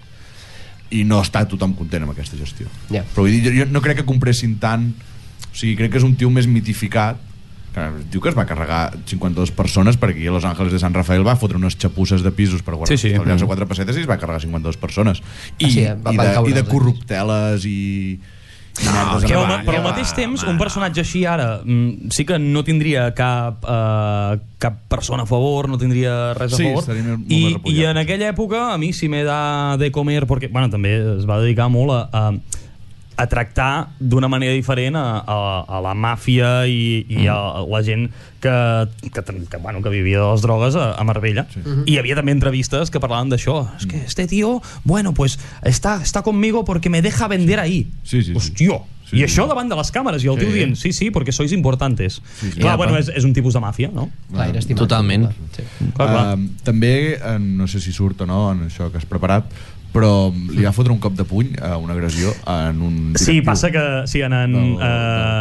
sí.
i no està tothom content amb aquesta gestió
Ja.
però vull dir, jo, jo no crec que compressin tant o sigui, crec que és un tio més mitificat que diu que es va carregar 52 persones perquè aquí a Los Angeles de Sant Rafael va fotre unes xapuces de pisos per guardar
Sí, sí.
estalviar-se quatre pessetes i es va carregar 52 persones i,
Ah, sí, eh? Va-
i,
van
de,
caure
i de
els-
corrupteles i, i merdes
Però,
en
va,
avant.
però al mateix temps, un personatge així ara mm, sí que no tindria cap, eh, cap persona a favor, no tindria res a
Sí,
favor.
estaria molt
I,
més repullat,
I en aquella època, a mi si m'he de, de comer, perquè bueno, també es va dedicar molt a, a a tractar d'una manera diferent a, a, a la màfia i, i a
Mm.
la gent que, que, ten- que, bueno, que vivia de les drogues a, a Marbella. Sí. I hi havia també entrevistes que parlaven d'això. És que este tío, bueno, pues está, está conmigo porque me deja vender ahí.
Sí, sí, sí.
Hòstia,
Sí,
I
sí.
això davant de les càmeres, i el tio dient, sí, sí, perquè sois importantes. Sí, sí. Clar,
Ja,
bueno,
però-
és, és un tipus de màfia, no?
clar, era estimat.
Totalment.
Sí.
Clar, clar.
Ehm, també, eh, no sé si surt o no en això que has preparat, però li va fotre un cop de puny a una agressió en un
sí, passa que... Sí, en... en
Del- del
eh, el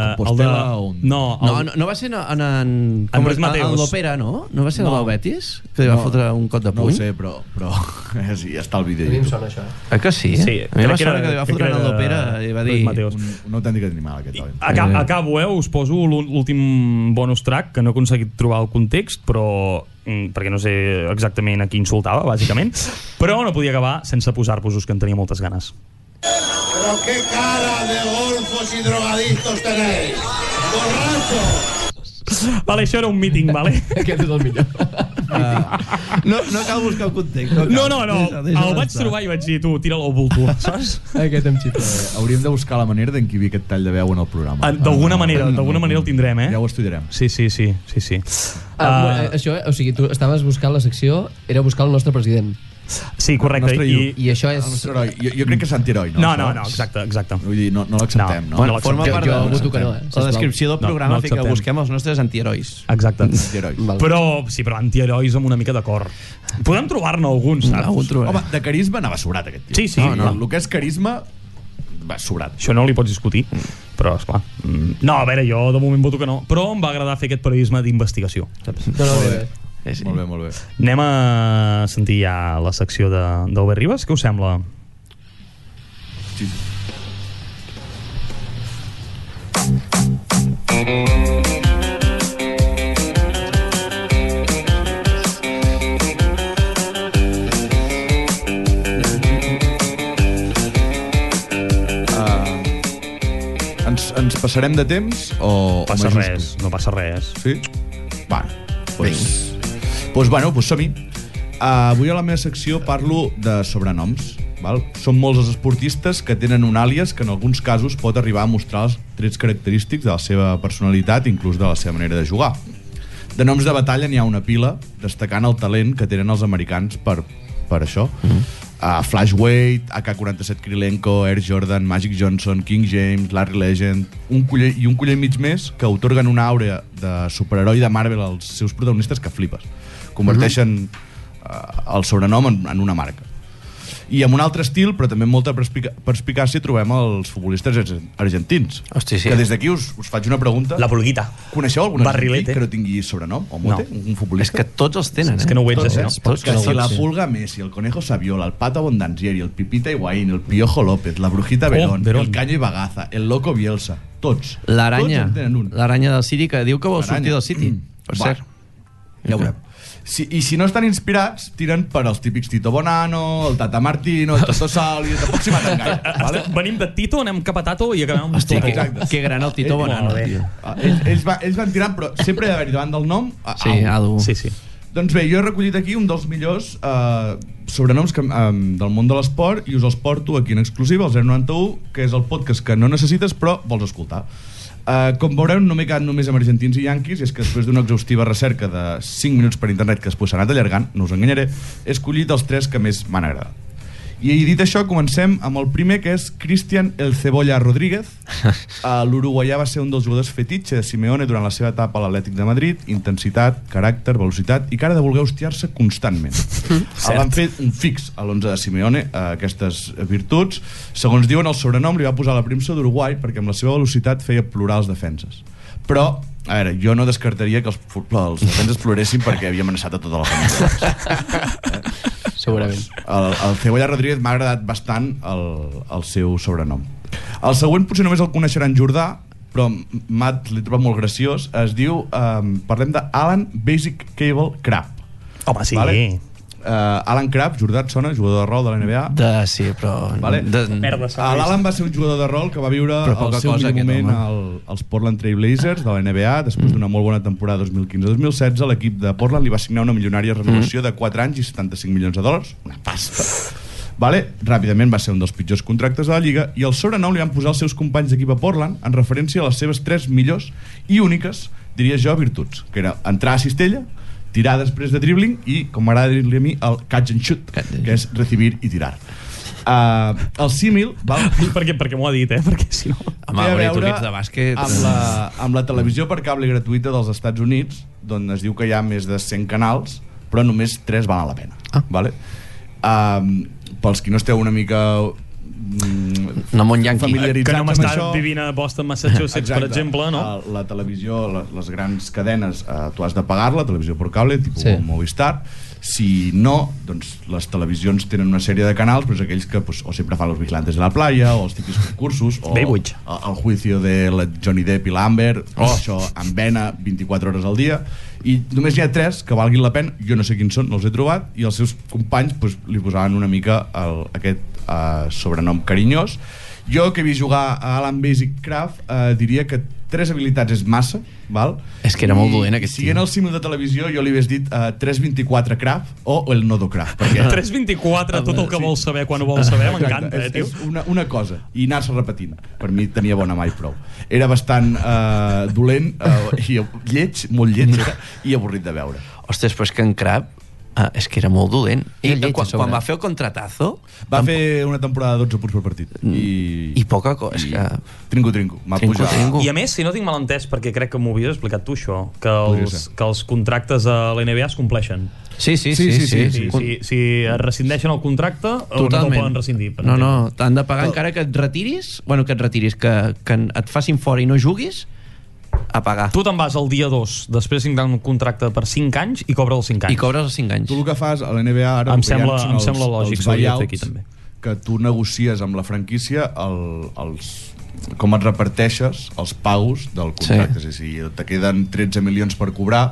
de,
Compostela o un-
no, el,
No, no, no va ser en... en, com
Luis
es-
Mateos.
En l'òpera, no? No va ser
No.
no. Betis? Que li va
No.
fotre un cop de
No
puny?
ho sé, però, però sí, està el vídeo.
A mi em
a
sona
YouTube.
això.
Eh que sí?
Sí,
a mi
crec
va
que
sonar
era-
que li
crec
va
que
fotre en
era
l'òpera i va
Luis
dir...
Mateos.
Un, un autèntic animal, aquest home.
Acab, acabo, eh? Us poso l'ú- l'últim bonus track, que no he aconseguit trobar el context, però mm, perquè no sé exactament a qui insultava, bàsicament, però no podia acabar sense posar-vos-os, que en tenia moltes ganes.
Pero qué cara de golfos y drogadictos tenéis. Borracho.
Vale, això era un míting, vale?
Aquest és el millor.
No, no cal buscar el context. No, cal.
No, no, no,
Deixa- deixa
el vaig
d'estar.
trobar i vaig dir, tu, tira-lo al bulto, saps?
Aquest em xifra.
Eh, Hauríem de buscar la manera d'enquivir aquest tall de veu en el programa.
En- D'alguna manera, d'alguna manera el tindrem, eh?
Ja ho estudiarem.
Sí, sí, sí, sí, sí. Ah,
Ah, uh, això, eh, o sigui, tu estaves buscant la secció, era buscar el nostre president.
sí, correcte.
nostre
I,
I això és...
El nostre heroi. Jo, jo crec que és antiheroi, no?
no, no, no, exacte, exacte.
Vull dir, no, no l'acceptem,
No.
no?
Bueno,
No
forma
l'acceptem.
part
Jo-
de
jo voto que no, eh,
la
sisplau.
descripció del
No, no
programa no, fica
acceptem.
busquem els nostres antiherois.
Exacte.
Antiheroi.
Val.
Però, sí, però antiherois amb una mica d'acord. Podem trobar-ne alguns, saps?
Algun trobarem.
Home, de carisma anava sobrat, aquest tio.
Sí, sí.
No, no,
clar.
el que és carisma va sobrat.
Això no li pots discutir, però, esclar... mm, No, a veure, jo de moment voto que no, però em va agradar fer aquest periodisme d'investigació. saps?
No, no,
Molt
no,
bé.
no.
Eh, sí.
Molt bé, molt bé.
Anem a sentir ja la secció de- d'Ober Ribas, què us sembla?
Sí, sí. Ah, ens, ens passarem de temps o... o
Passa
m'ajustes?
res, no passa res.
Sí? Va, doncs... Doncs bueno, doncs som-hi. Uh, avui a la meva secció parlo de sobrenoms. Val? Són molts els esportistes que tenen un àlies que en alguns casos pot arribar a mostrar els trets característics de la seva personalitat, inclús de la seva manera de jugar. De noms de batalla n'hi ha una pila, destacant el talent que tenen els americans per, per això. Mm uh, Flashweight, AK-47 Krylenko, Air Jordan, Magic Johnson, King James, Larry Legend, un culler, i un culler i mig més que otorguen una àurea de superheroi de Marvel als seus protagonistes que flipes. Converteixen uh, el sobrenom en, en una marca. I amb un altre estil, però també amb molta perspica perspicàcia, trobem els futbolistes argen- argentins.
Hosti, sí.
Que des d'aquí us, us faig una pregunta.
La pulguita.
Coneixeu algun
Barrilet, eh?
argentí que no tingui sobrenom? O mote?
No.
Un
És
futbolista?
que tots els tenen, eh?
És que no ho veig, això.
Tots,
que
no
si
ho
la
veig.
Pulga Messi, el Conejo Saviola, el Pato Abondancieri, el Pipita Higuaín, el Piojo López, la Brujita
Oh,
Verón,
Verón.
el Caño i Bagaza, el Loco Bielsa, tots.
L'aranya,
Tots en tenen un.
l'aranya del City, que diu que vol sortir del City, per
Va,
cert.
Ja ho veurem. Si, I si no estan inspirats, tiren per als típics Tito Bonano, el Tata Martino, el Toto Sali, tampoc s'hi maten gaire. Vale?
Venim de Tito, anem cap a Tato i acabem amb
Hosti,
Toto.
que,
Exacte.
que gran el Tito
Ell-
Bonano,
Molt bé.
tio.
Ah, Ells, ells, va, ells van tirant, però sempre hi ha d'haver davant del nom a,
Sí,
au.
Adu.
Sí, sí.
Doncs bé, jo he recollit aquí un dels millors eh, sobrenoms que, eh, del món de l'esport i us els porto aquí en exclusiva, al 091, que és el podcast que no necessites però vols escoltar. Eh, com veureu, no m'he quedat només amb argentins i yanquis, i és que després d'una exhaustiva recerca de 5 minuts per internet que després s'ha anat allargant, no us enganyaré, he escollit els tres que més m'han agradat. I dit això, comencem amb el primer, que és Cristian El Cebolla Rodríguez. Eh, L'uruguaià va ser un dels jugadors fetitxe de Simeone durant la seva etapa a l'Atlètic de Madrid. Intensitat, caràcter, velocitat i cara de voler hostiar-se constantment. El van fer un fix a l'11 de Simeone, eh, aquestes virtuts. Segons diuen, el sobrenom li va posar la premsa d'Uruguai perquè amb la seva velocitat feia plorar els defenses. Però, a veure, jo no descartaria que els, fu- els defenses ploressin perquè havia amenaçat a tota la família.
segurament.
El, el Cebolla Rodríguez m'ha agradat bastant el, el seu sobrenom. El següent potser només el coneixeran Jordà, però m- Matt l'he trobat molt graciós. Es diu, um, parlem de Alan Basic Cable Crab.
Home, sí.
Vale? Uh, Alan Crab, Jordà et sona, jugador de rol de la NBA.
De, sí, però...
Vale.
De,
Merda,
Ah, L'Alan va ser un jugador de rol que va viure
Però
el
poca
seu
cosa,
millor
aquest
moment al, als Portland Trail Blazers de la NBA després d'una molt bona temporada 2015-2016 l'equip de Portland li va signar una milionària renovació de 4 anys i 75 milions de dòlars una pasta Vale, ràpidament va ser un dels pitjors contractes de la Lliga i el sobrenom li van posar els seus companys d'equip a Portland en referència a les seves tres millors i úniques, diria jo, virtuts, que era entrar a cistella, tirar després de dribbling i, com m'agrada dir-li a mi, el catch and shoot,
Catch and
que és recibir i tirar. Uh, el símil va,
Perquè, perquè m'ho ha dit, eh? Perquè si no...
Home,
té a
a veure, tu
veure
que ets de bàsquet...
Amb la, amb la televisió per cable gratuïta dels Estats Units, d'on es diu que hi ha més de 100 canals, però només 3 valen la pena. Ah. Vale? Um, pels qui no esteu una mica... Mm,
No, món yanqui.
Que no
familiaritzats amb
m'està
això...
vivint a Boston, Massachusetts, per exemple, no?
Eh, La, televisió, la, les grans cadenes, eh, tu has de pagar-la, televisió per cable, tipus
Sí.
sí. Movistar. Si no, doncs les televisions tenen una sèrie de canals, però és aquells que pues, o sempre fan els vigilantes de la playa, o els típics concursos, o
Baywatch.
el, el juicio de la Johnny Depp i l'Amber, oh. això en vena 24 hores al dia, i només hi ha tres que valguin la pena, jo no sé quins són, no els he trobat, i els seus companys pues, li posaven una mica el, aquest uh, sobrenom carinyós. Jo, que he vist jugar a Alan Basic Craft, uh, diria que tres habilitats és massa, val?
És que era molt
I
dolent, aquest
Siguent
tio.
el símil de televisió, jo li hagués dit uh, 324 Craft o el Nodo Craft, perquè
324, tot el que vols saber quan ho vols saber, m'encanta,
Ah. Exacte,
eh, tio?
és, és una, una cosa, i anar-se repetint. Per mi tenia bona mà i prou. Era bastant eh, dolent, eh, i lleig, molt lleig, era, i avorrit de veure.
Ostres, però és que en Crab ah, és que era molt dolent. I
Era lleig, a
quan,
sobre.
quan va fer el contratazo... tampoc-
Va
Mm.
fer una temporada de 12 punts per partit. I,
I poca cosa, és que...
Trinco, trinco. Va
Trinco,
pujar.
trinco.
I a més, si no tinc mal entès, perquè crec que m'ho havies explicat tu, això, que
Podria
els,
ser.
que els contractes a la NBA es compleixen.
Sí, sí,
Sí,
sí. sí,
sí, sí,
sí,
Si, si, si es rescindeixen el contracte, o no te'l
Totalment.
poden rescindir. per
no,
entendre.
no, t'han de pagar encara que et retiris, bueno, que et retiris, que, que et facin fora i no juguis, a pagar.
Tu te'n vas el dia 2, després signar un contracte per 5 anys i cobra els 5 anys.
I cobres els 5 anys.
Tu el que fas a la NBA ara...
Em
el que hi ha
sembla-
són
em sembla lògic, s'hauria de fer aquí, també.
que tu negocies amb la franquícia el, els, com et reparteixes els pagos del contracte. Sí. És a dir, si te queden 13 milions per cobrar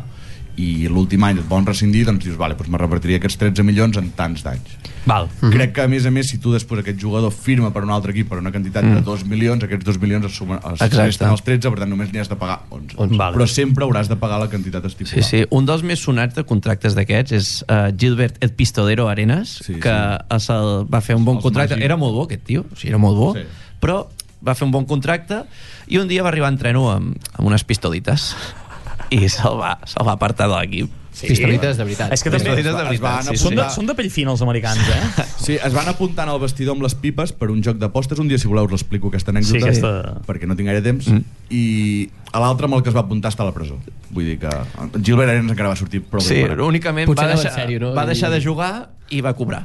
i l'últim any et volen rescindir, doncs dius, vale, doncs me repartiria aquests 13 milions en tants d'anys.
Val.
Mm -hmm. Crec que, a més a més, si tu després aquest jugador firma per un altre equip per una quantitat mm. de 2 milions, aquests 2 milions es sumen es
Exacte.
resten als 13, per tant només n'hi has de pagar 11.
11. Vale.
Però sempre hauràs de pagar la quantitat estipulada.
Sí, sí. Un dels més sonats de contractes d'aquests és uh, Gilbert El Pistolero Arenas,
Sí,
sí, que
sí.
sí. El, va fer un bon
Els
contracte.
màgics.
Era molt bo aquest tio, o sigui, era molt bo,
Sí.
sí. però va fer un bon contracte i un dia va arribar a entreno amb, amb unes pistolites i se'l va, se va apartar de l'equip.
Sí. Pistolites de veritat.
És que també...
Es va- es van
Són de,
apuntar-
són de pell fina, els americans, eh?
Sí, es van apuntant al vestidor amb les pipes per un joc d'apostes. Un dia, si voleu, us l'explico aquesta anècdota,
Sí, aquesta-
perquè no tinc gaire temps. Mm. I a l'altre amb el que es va apuntar està a la presó. Vull dir que en Gilbert Arenas encara va sortir prou
Sí,
ben parat.
únicament
Potser
va
anava en
deixar,
sèrio, no?
va deixar
I-
de jugar i va cobrar.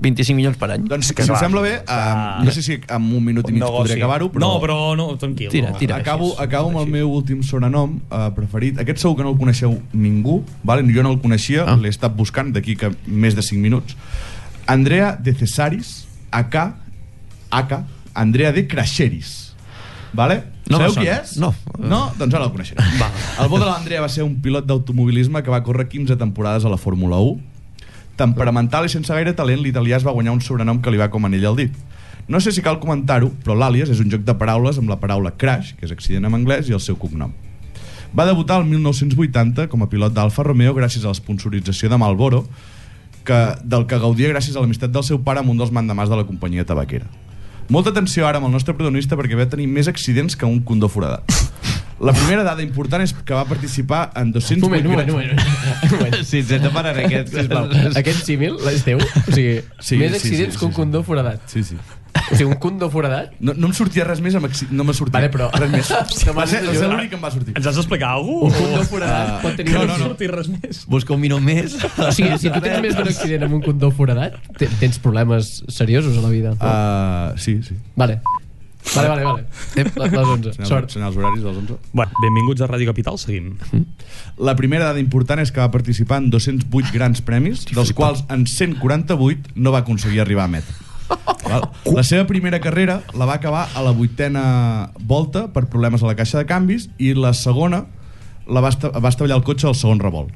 25 milions per any.
Doncs, si us sembla bé, um, no sé si en un minut i mig podré acabar-ho, però...
No, però no, tranquil.
Tira,
no.
tira.
Acabo, acabo amb el meu últim sobrenom eh, preferit. Aquest segur que no el coneixeu ningú, vale? jo no el coneixia,
Ah.
ah. l'he estat buscant d'aquí que més de 5 minuts. Andrea de Cesaris, AK, AK, Andrea de Crasheris. Vale?
No me
Sabeu
sona.
qui és?
No.
No? Doncs ara el coneixeré. Va. El bo de l'Andrea va ser un pilot d'automobilisme que va córrer 15 temporades a la Fórmula 1. Temperamental i sense gaire talent, l'italià es va guanyar un sobrenom que li va com anell al dit. No sé si cal comentar-ho, però l'àlies és un joc de paraules amb la paraula crash, que és accident en anglès, i el seu cognom. Va debutar el 1980 com a pilot d'Alfa Romeo gràcies a l'esponsorització de Malboro, que, del que gaudia gràcies a l'amistat del seu pare amb un dels mandamàs de la companyia tabaquera. Molta atenció ara amb el nostre protagonista perquè va tenir més accidents que un condó foradat. La primera dada important és que va participar en 200...
Un moment, un moment, un moment. Un moment.
Sí, ens hem de parar en aquest, sisplau.
Aquest símil és teu? O sigui,
doncs. Sí,
sí, més
sí,
accidents
sí,
que un
sí,
condó foradat.
Sí, sí.
O sigui, un condó foradat...
No, no em sortia res més amb accidents. No m'ha sortit
Vale, però...
res més.
No
Va
m'has
ser, va ser
d'ajudar.
l'únic que em va sortir.
Ens has d'explicar
Un
alguna
condó
cosa?
foradat pot tenir...
Oh, ah. no,
No,
un
no, no.
accident.
sortir res més.
Busca un minut més.
O sigui, si tu tens més d'un accident amb un condó foradat, te- tens problemes seriosos a la vida.
Uh, sí, sí.
Vale. Vale, vale, vale.
Eh.
Ep, les 11. Sort.
Són els horaris dels 11.
Bueno, benvinguts a Ràdio Capital, seguim.
La primera dada important és que va participar en 208 grans premis, dels quals en 148 no va aconseguir arribar a meta. Val?
Uh.
La seva primera carrera la va acabar a la vuitena volta per problemes a la caixa de canvis i la segona la va, esta va estavellar el cotxe al segon revolt.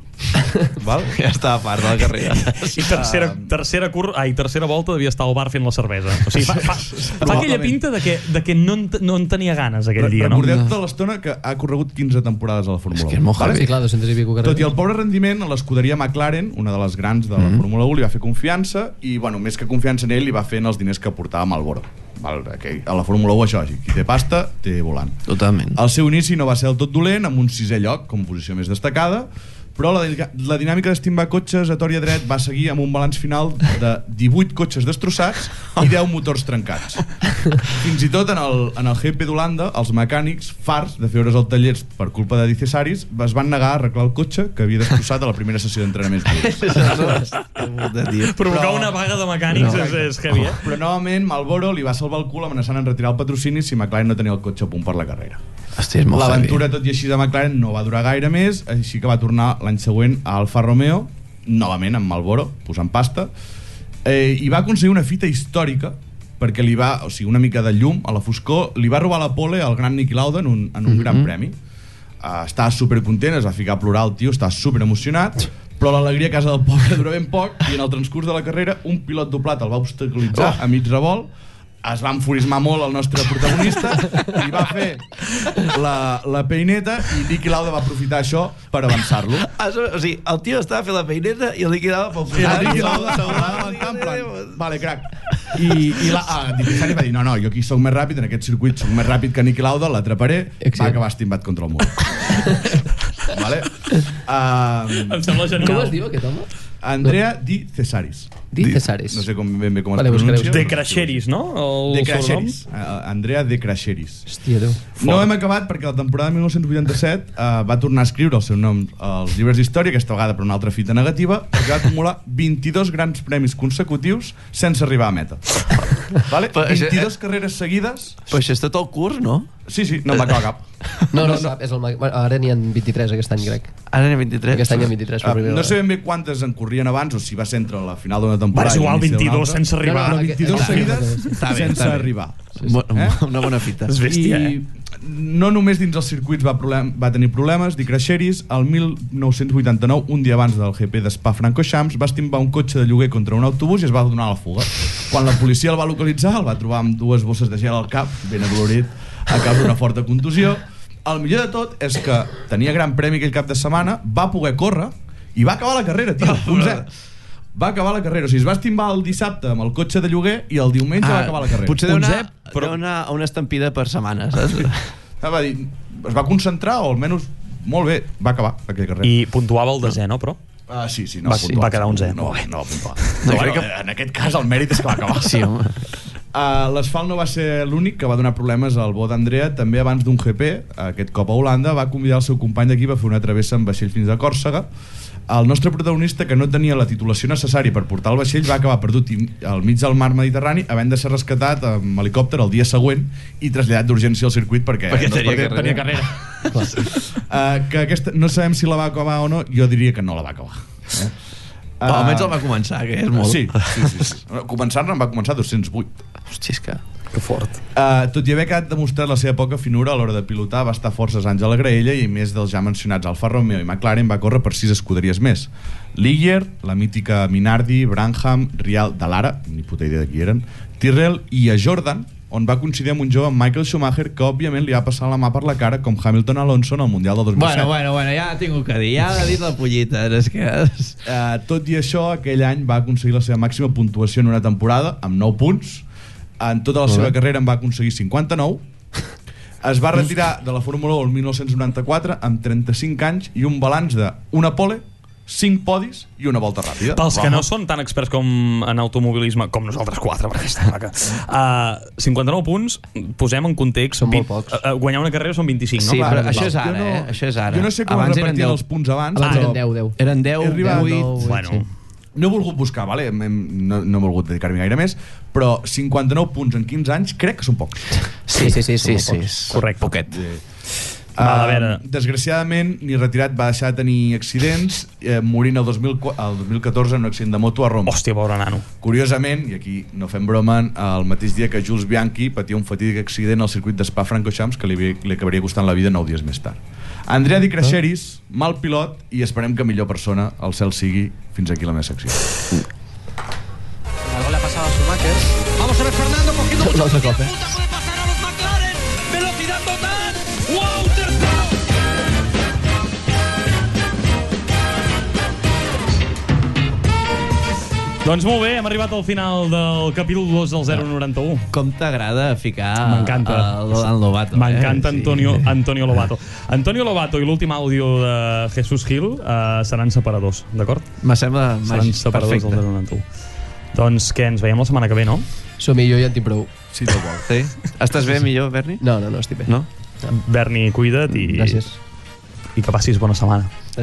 Val?
Ja estava part de la carrera.
I tercera, tercera, cur... Ai, tercera volta devia estar al bar fent la cervesa. O sigui, fa, fa, fa aquella
Probablement.
pinta de que, de que no, en, te- no en tenia ganes aquell dia, no?
Recordeu tota l'estona que ha corregut 15 temporades a la Fórmula 1.
que és molt
vale?
Sí, clar, 200 i pico
Tot i
carreres.
el pobre rendiment, a l'escuderia McLaren, una de les grans de la Fórmula 1, li va fer confiança i, bueno, més que confiança en ell, li va fer en els diners que portava Malboro. Val, que a la Fórmula 1 això, qui té pasta, té volant.
Totalment.
El seu inici no va ser del tot dolent, amb un sisè lloc, com posició més destacada, però la, dinà- la dinàmica d'estimbar cotxes a tori a dret va seguir amb un balanç final de 18 cotxes destrossats i 10 motors trencats. Fins i tot en el, en el GP d'Holanda, els mecànics, farts de fer hores al taller per culpa de Dicesaris, es van negar a arreglar el cotxe que havia destrossat a la primera sessió d'entrenaments. lliures.
Provocar una vaga de mecànics és, és heavy, eh?
Però novament Malboro li va salvar el cul amenaçant en retirar el patrocini si McLaren no tenia el cotxe a punt per la carrera.
Hòstia, és molt eh?
L'aventura, tot i així, de McLaren no va durar gaire més, així que va tornar l'any següent a Alfa Romeo, novament amb Malboro, posant pasta, eh, i va aconseguir una fita històrica perquè li va, o sigui, una mica de llum a la foscor, li va robar la pole al gran Niki Lauda en un, en un mm -hmm.
Mhm.
gran premi. Uh, estava supercontent, es va ficar a plorar el tio, estava super emocionat, però l'alegria a casa del pobre dura ben poc i en el transcurs de la carrera un pilot doblat el va obstaculitzar a mig revolt es va enfurismar molt el nostre protagonista i va fer la, la peineta i Niki Lauda va aprofitar això per avançar-lo.
Ah, so- o sigui, el tio estava fent la peineta i el liquidava pel
I la
posar.
Niki Lauda se'l va avançar en plan, vale, crac. I, i la, ah, Niki Sari va dir, no, no, jo aquí sóc més ràpid, en aquest circuit sóc més ràpid que Niki Lauda, l'atraparé, va acabar estimbat contra el mur. vale? Um,
Em sembla
Com es
genial.
diu aquest home?
Andrea Di Cesaris.
Di Cesaris.
No sé com ben bé com
Vale,
es pronuncia.
buscareu.
De Crasheris, no? El sobrenom?
De Crasheris. Ah, Andrea De Crasheris.
Hòstia, Déu.
No hem acabat perquè la temporada de 1987 eh, va tornar a escriure el seu nom als llibres d'història, aquesta vegada per una altra fita negativa, perquè va acumular 22 grans premis consecutius sense arribar a meta. Vale?
Però això-
22 carreres seguides...
Però això és tot el curs, no?
Sí, sí, no em va acabar cap.
No, no, sap, és el... ma- Bueno, ara n'hi ha 23 aquest any, crec.
Ara n'hi ha 23.
Aquest any hi ha 23 per
Eh,
primera
no sé
vegada.
ben bé quantes en corrien abans o si va ser entre la final d'una
Va,
temporada
és
i
igual,
l'inici d'una
22
altra.
sense arribar.
No, no,
No,
no,
22 seguides
Està bé,
sense
està bé.
arribar.
Bo-
Eh?
Una bona fita.
És bèstia, eh?
I no només dins els circuits va, problem, va tenir problemes, Dick Crasheris, el 1989, un dia abans del GP d'Spa Francorchamps, va estimbar un cotxe de lloguer contra un autobús i es va donar a la fuga. Quan la policia el va localitzar, el va trobar amb dues bosses de gel al cap, ben adolorit, a causa d'una forta contusió. El millor de tot és que tenia gran premi aquell cap de setmana, va poder córrer i va acabar la carrera, tio, onzè. Va acabar la carrera, o sigui, es va estimbar el dissabte amb el cotxe de lloguer i el diumenge va acabar la carrera.
Ah, Potser deu anar,
Onze, però-
però... deu anar a una estampida per setmana, saps?
Ah, va dir, es va concentrar o almenys molt bé, va acabar aquella carrera.
I puntuava el desè, no, però?
Ah, sí, sí, no
Va-
va, puntuar,
va quedar onzè.
No, no, no va puntuar. No, no, en aquest cas el mèrit és que va acabar.
Sí, home.
Uh, L'asfalt no va ser l'únic que va donar problemes al bo d'Andrea. També abans d'un GP, aquest cop a Holanda, va convidar el seu company d'equip a fer una travessa en vaixell fins a Còrsega. el nostre protagonista, que no tenia la titulació necessària per portar el vaixell, va acabar perdut i- al mig del mar Mediterrani, havent de ser rescatat amb helicòpter el dia següent i traslladat d'urgència al circuit perquè,
Perquè
no
tenia
es podia-
carrera.
tenia carrera. uh, que aquesta, no sabem si la va acabar o no, jo diria que no la va acabar. Eh?
Uh... Almenys el va començar, que és molt.
Ah. Sí, sí, sí. sí. Començar-ne en va començar 208.
Hosti, és que...
Que fort.
Uh, tot i haver quedat demostrat la seva poca finura a l'hora de pilotar, va estar forces anys a la graella i més dels ja mencionats Alfa Romeo i McLaren va córrer per sis escuderies més. Ligier, la mítica Minardi, Branham, Rial de Lara, ni puta idea de qui eren, Tyrrell i a Jordan, on va coincidir amb un jove Michael Schumacher que òbviament li va passar la mà per la cara com Hamilton Alonso en el Mundial del 2007.
Bueno, bueno, bueno, ja la tinc que dir, ja l'ha dit la pollita, és que...
Eh, tot i això, aquell any va aconseguir la seva màxima puntuació en una temporada, amb 9 punts. En tota la seva carrera en va aconseguir 59. Es va retirar de la Fórmula 1 el 1994 amb 35 anys i un balanç de una pole, 5 podis i una volta ràpida.
Pels que no són tan experts com en automobilisme, com nosaltres quatre, perquè està clar que...
Ah,
Uh, 59 punts, posem en context...
Són molt
vint-
pocs.
eh, eh, guanyar una carrera són 25,
Sí,
no?
però
Clar,
això és
jo
ara, eh? Això és ara.
Jo no sé com
Abans
abans
eren
repartien
deu.
els punts abans,
Abans eren
però
10, 10.
Eren 10,
Ah, He arribat
8...
al
Bueno,
no he volgut buscar, vale? Em- em- No, no he volgut dedicar-m'hi gaire més, però 59 punts en 15 anys crec que són pocs.
Sí, sí, sí, sí, sí.
Correcte.
Poquet.
Va, a
Um,
veure.
desgraciadament, ni retirat va deixar de tenir accidents, eh, morint el, 2004, el 2014 en un accident de moto a Roma.
hòstia, pobre nano.
Curiosament, i aquí no fem broma, el mateix dia que Jules Bianchi patia un fatídic accident al circuit d'Espa Francorchamps que li, havia- li acabaria costant la vida 9 dies més tard. Andrea Di Creixeris, mal pilot i esperem que millor persona el cel sigui fins aquí la meva secció.
Algo le ha pasado a Schumacher. Vamos a ver Fernando cogiendo mucha velocidad. Puta, puede pasar a los McLaren. Velocidad total. ¡Wow! Tercero.
Doncs molt bé, hem arribat al final del capítol 2 del 091.
Com t'agrada ficar...
M'encanta.
el Lodan Lobato, eh?
M'encanta
Sí.
Antonio, Antonio Lobato. Antonio Lobato i l'últim àudio de Jesús Gil eh, seran separadors, d'acord?
Me sembla
Seran
màgic,
separadors
perfecte.
del 091. Doncs què, ens veiem la setmana que ve, no?
Som-hi, jo ja en tinc prou.
Sí, tal qual.
Sí? Estàs bé, millor, Berni?
No, no, no, estic bé.
No?
Berni, cuida't i,
Gràcies.
i que passis bona setmana.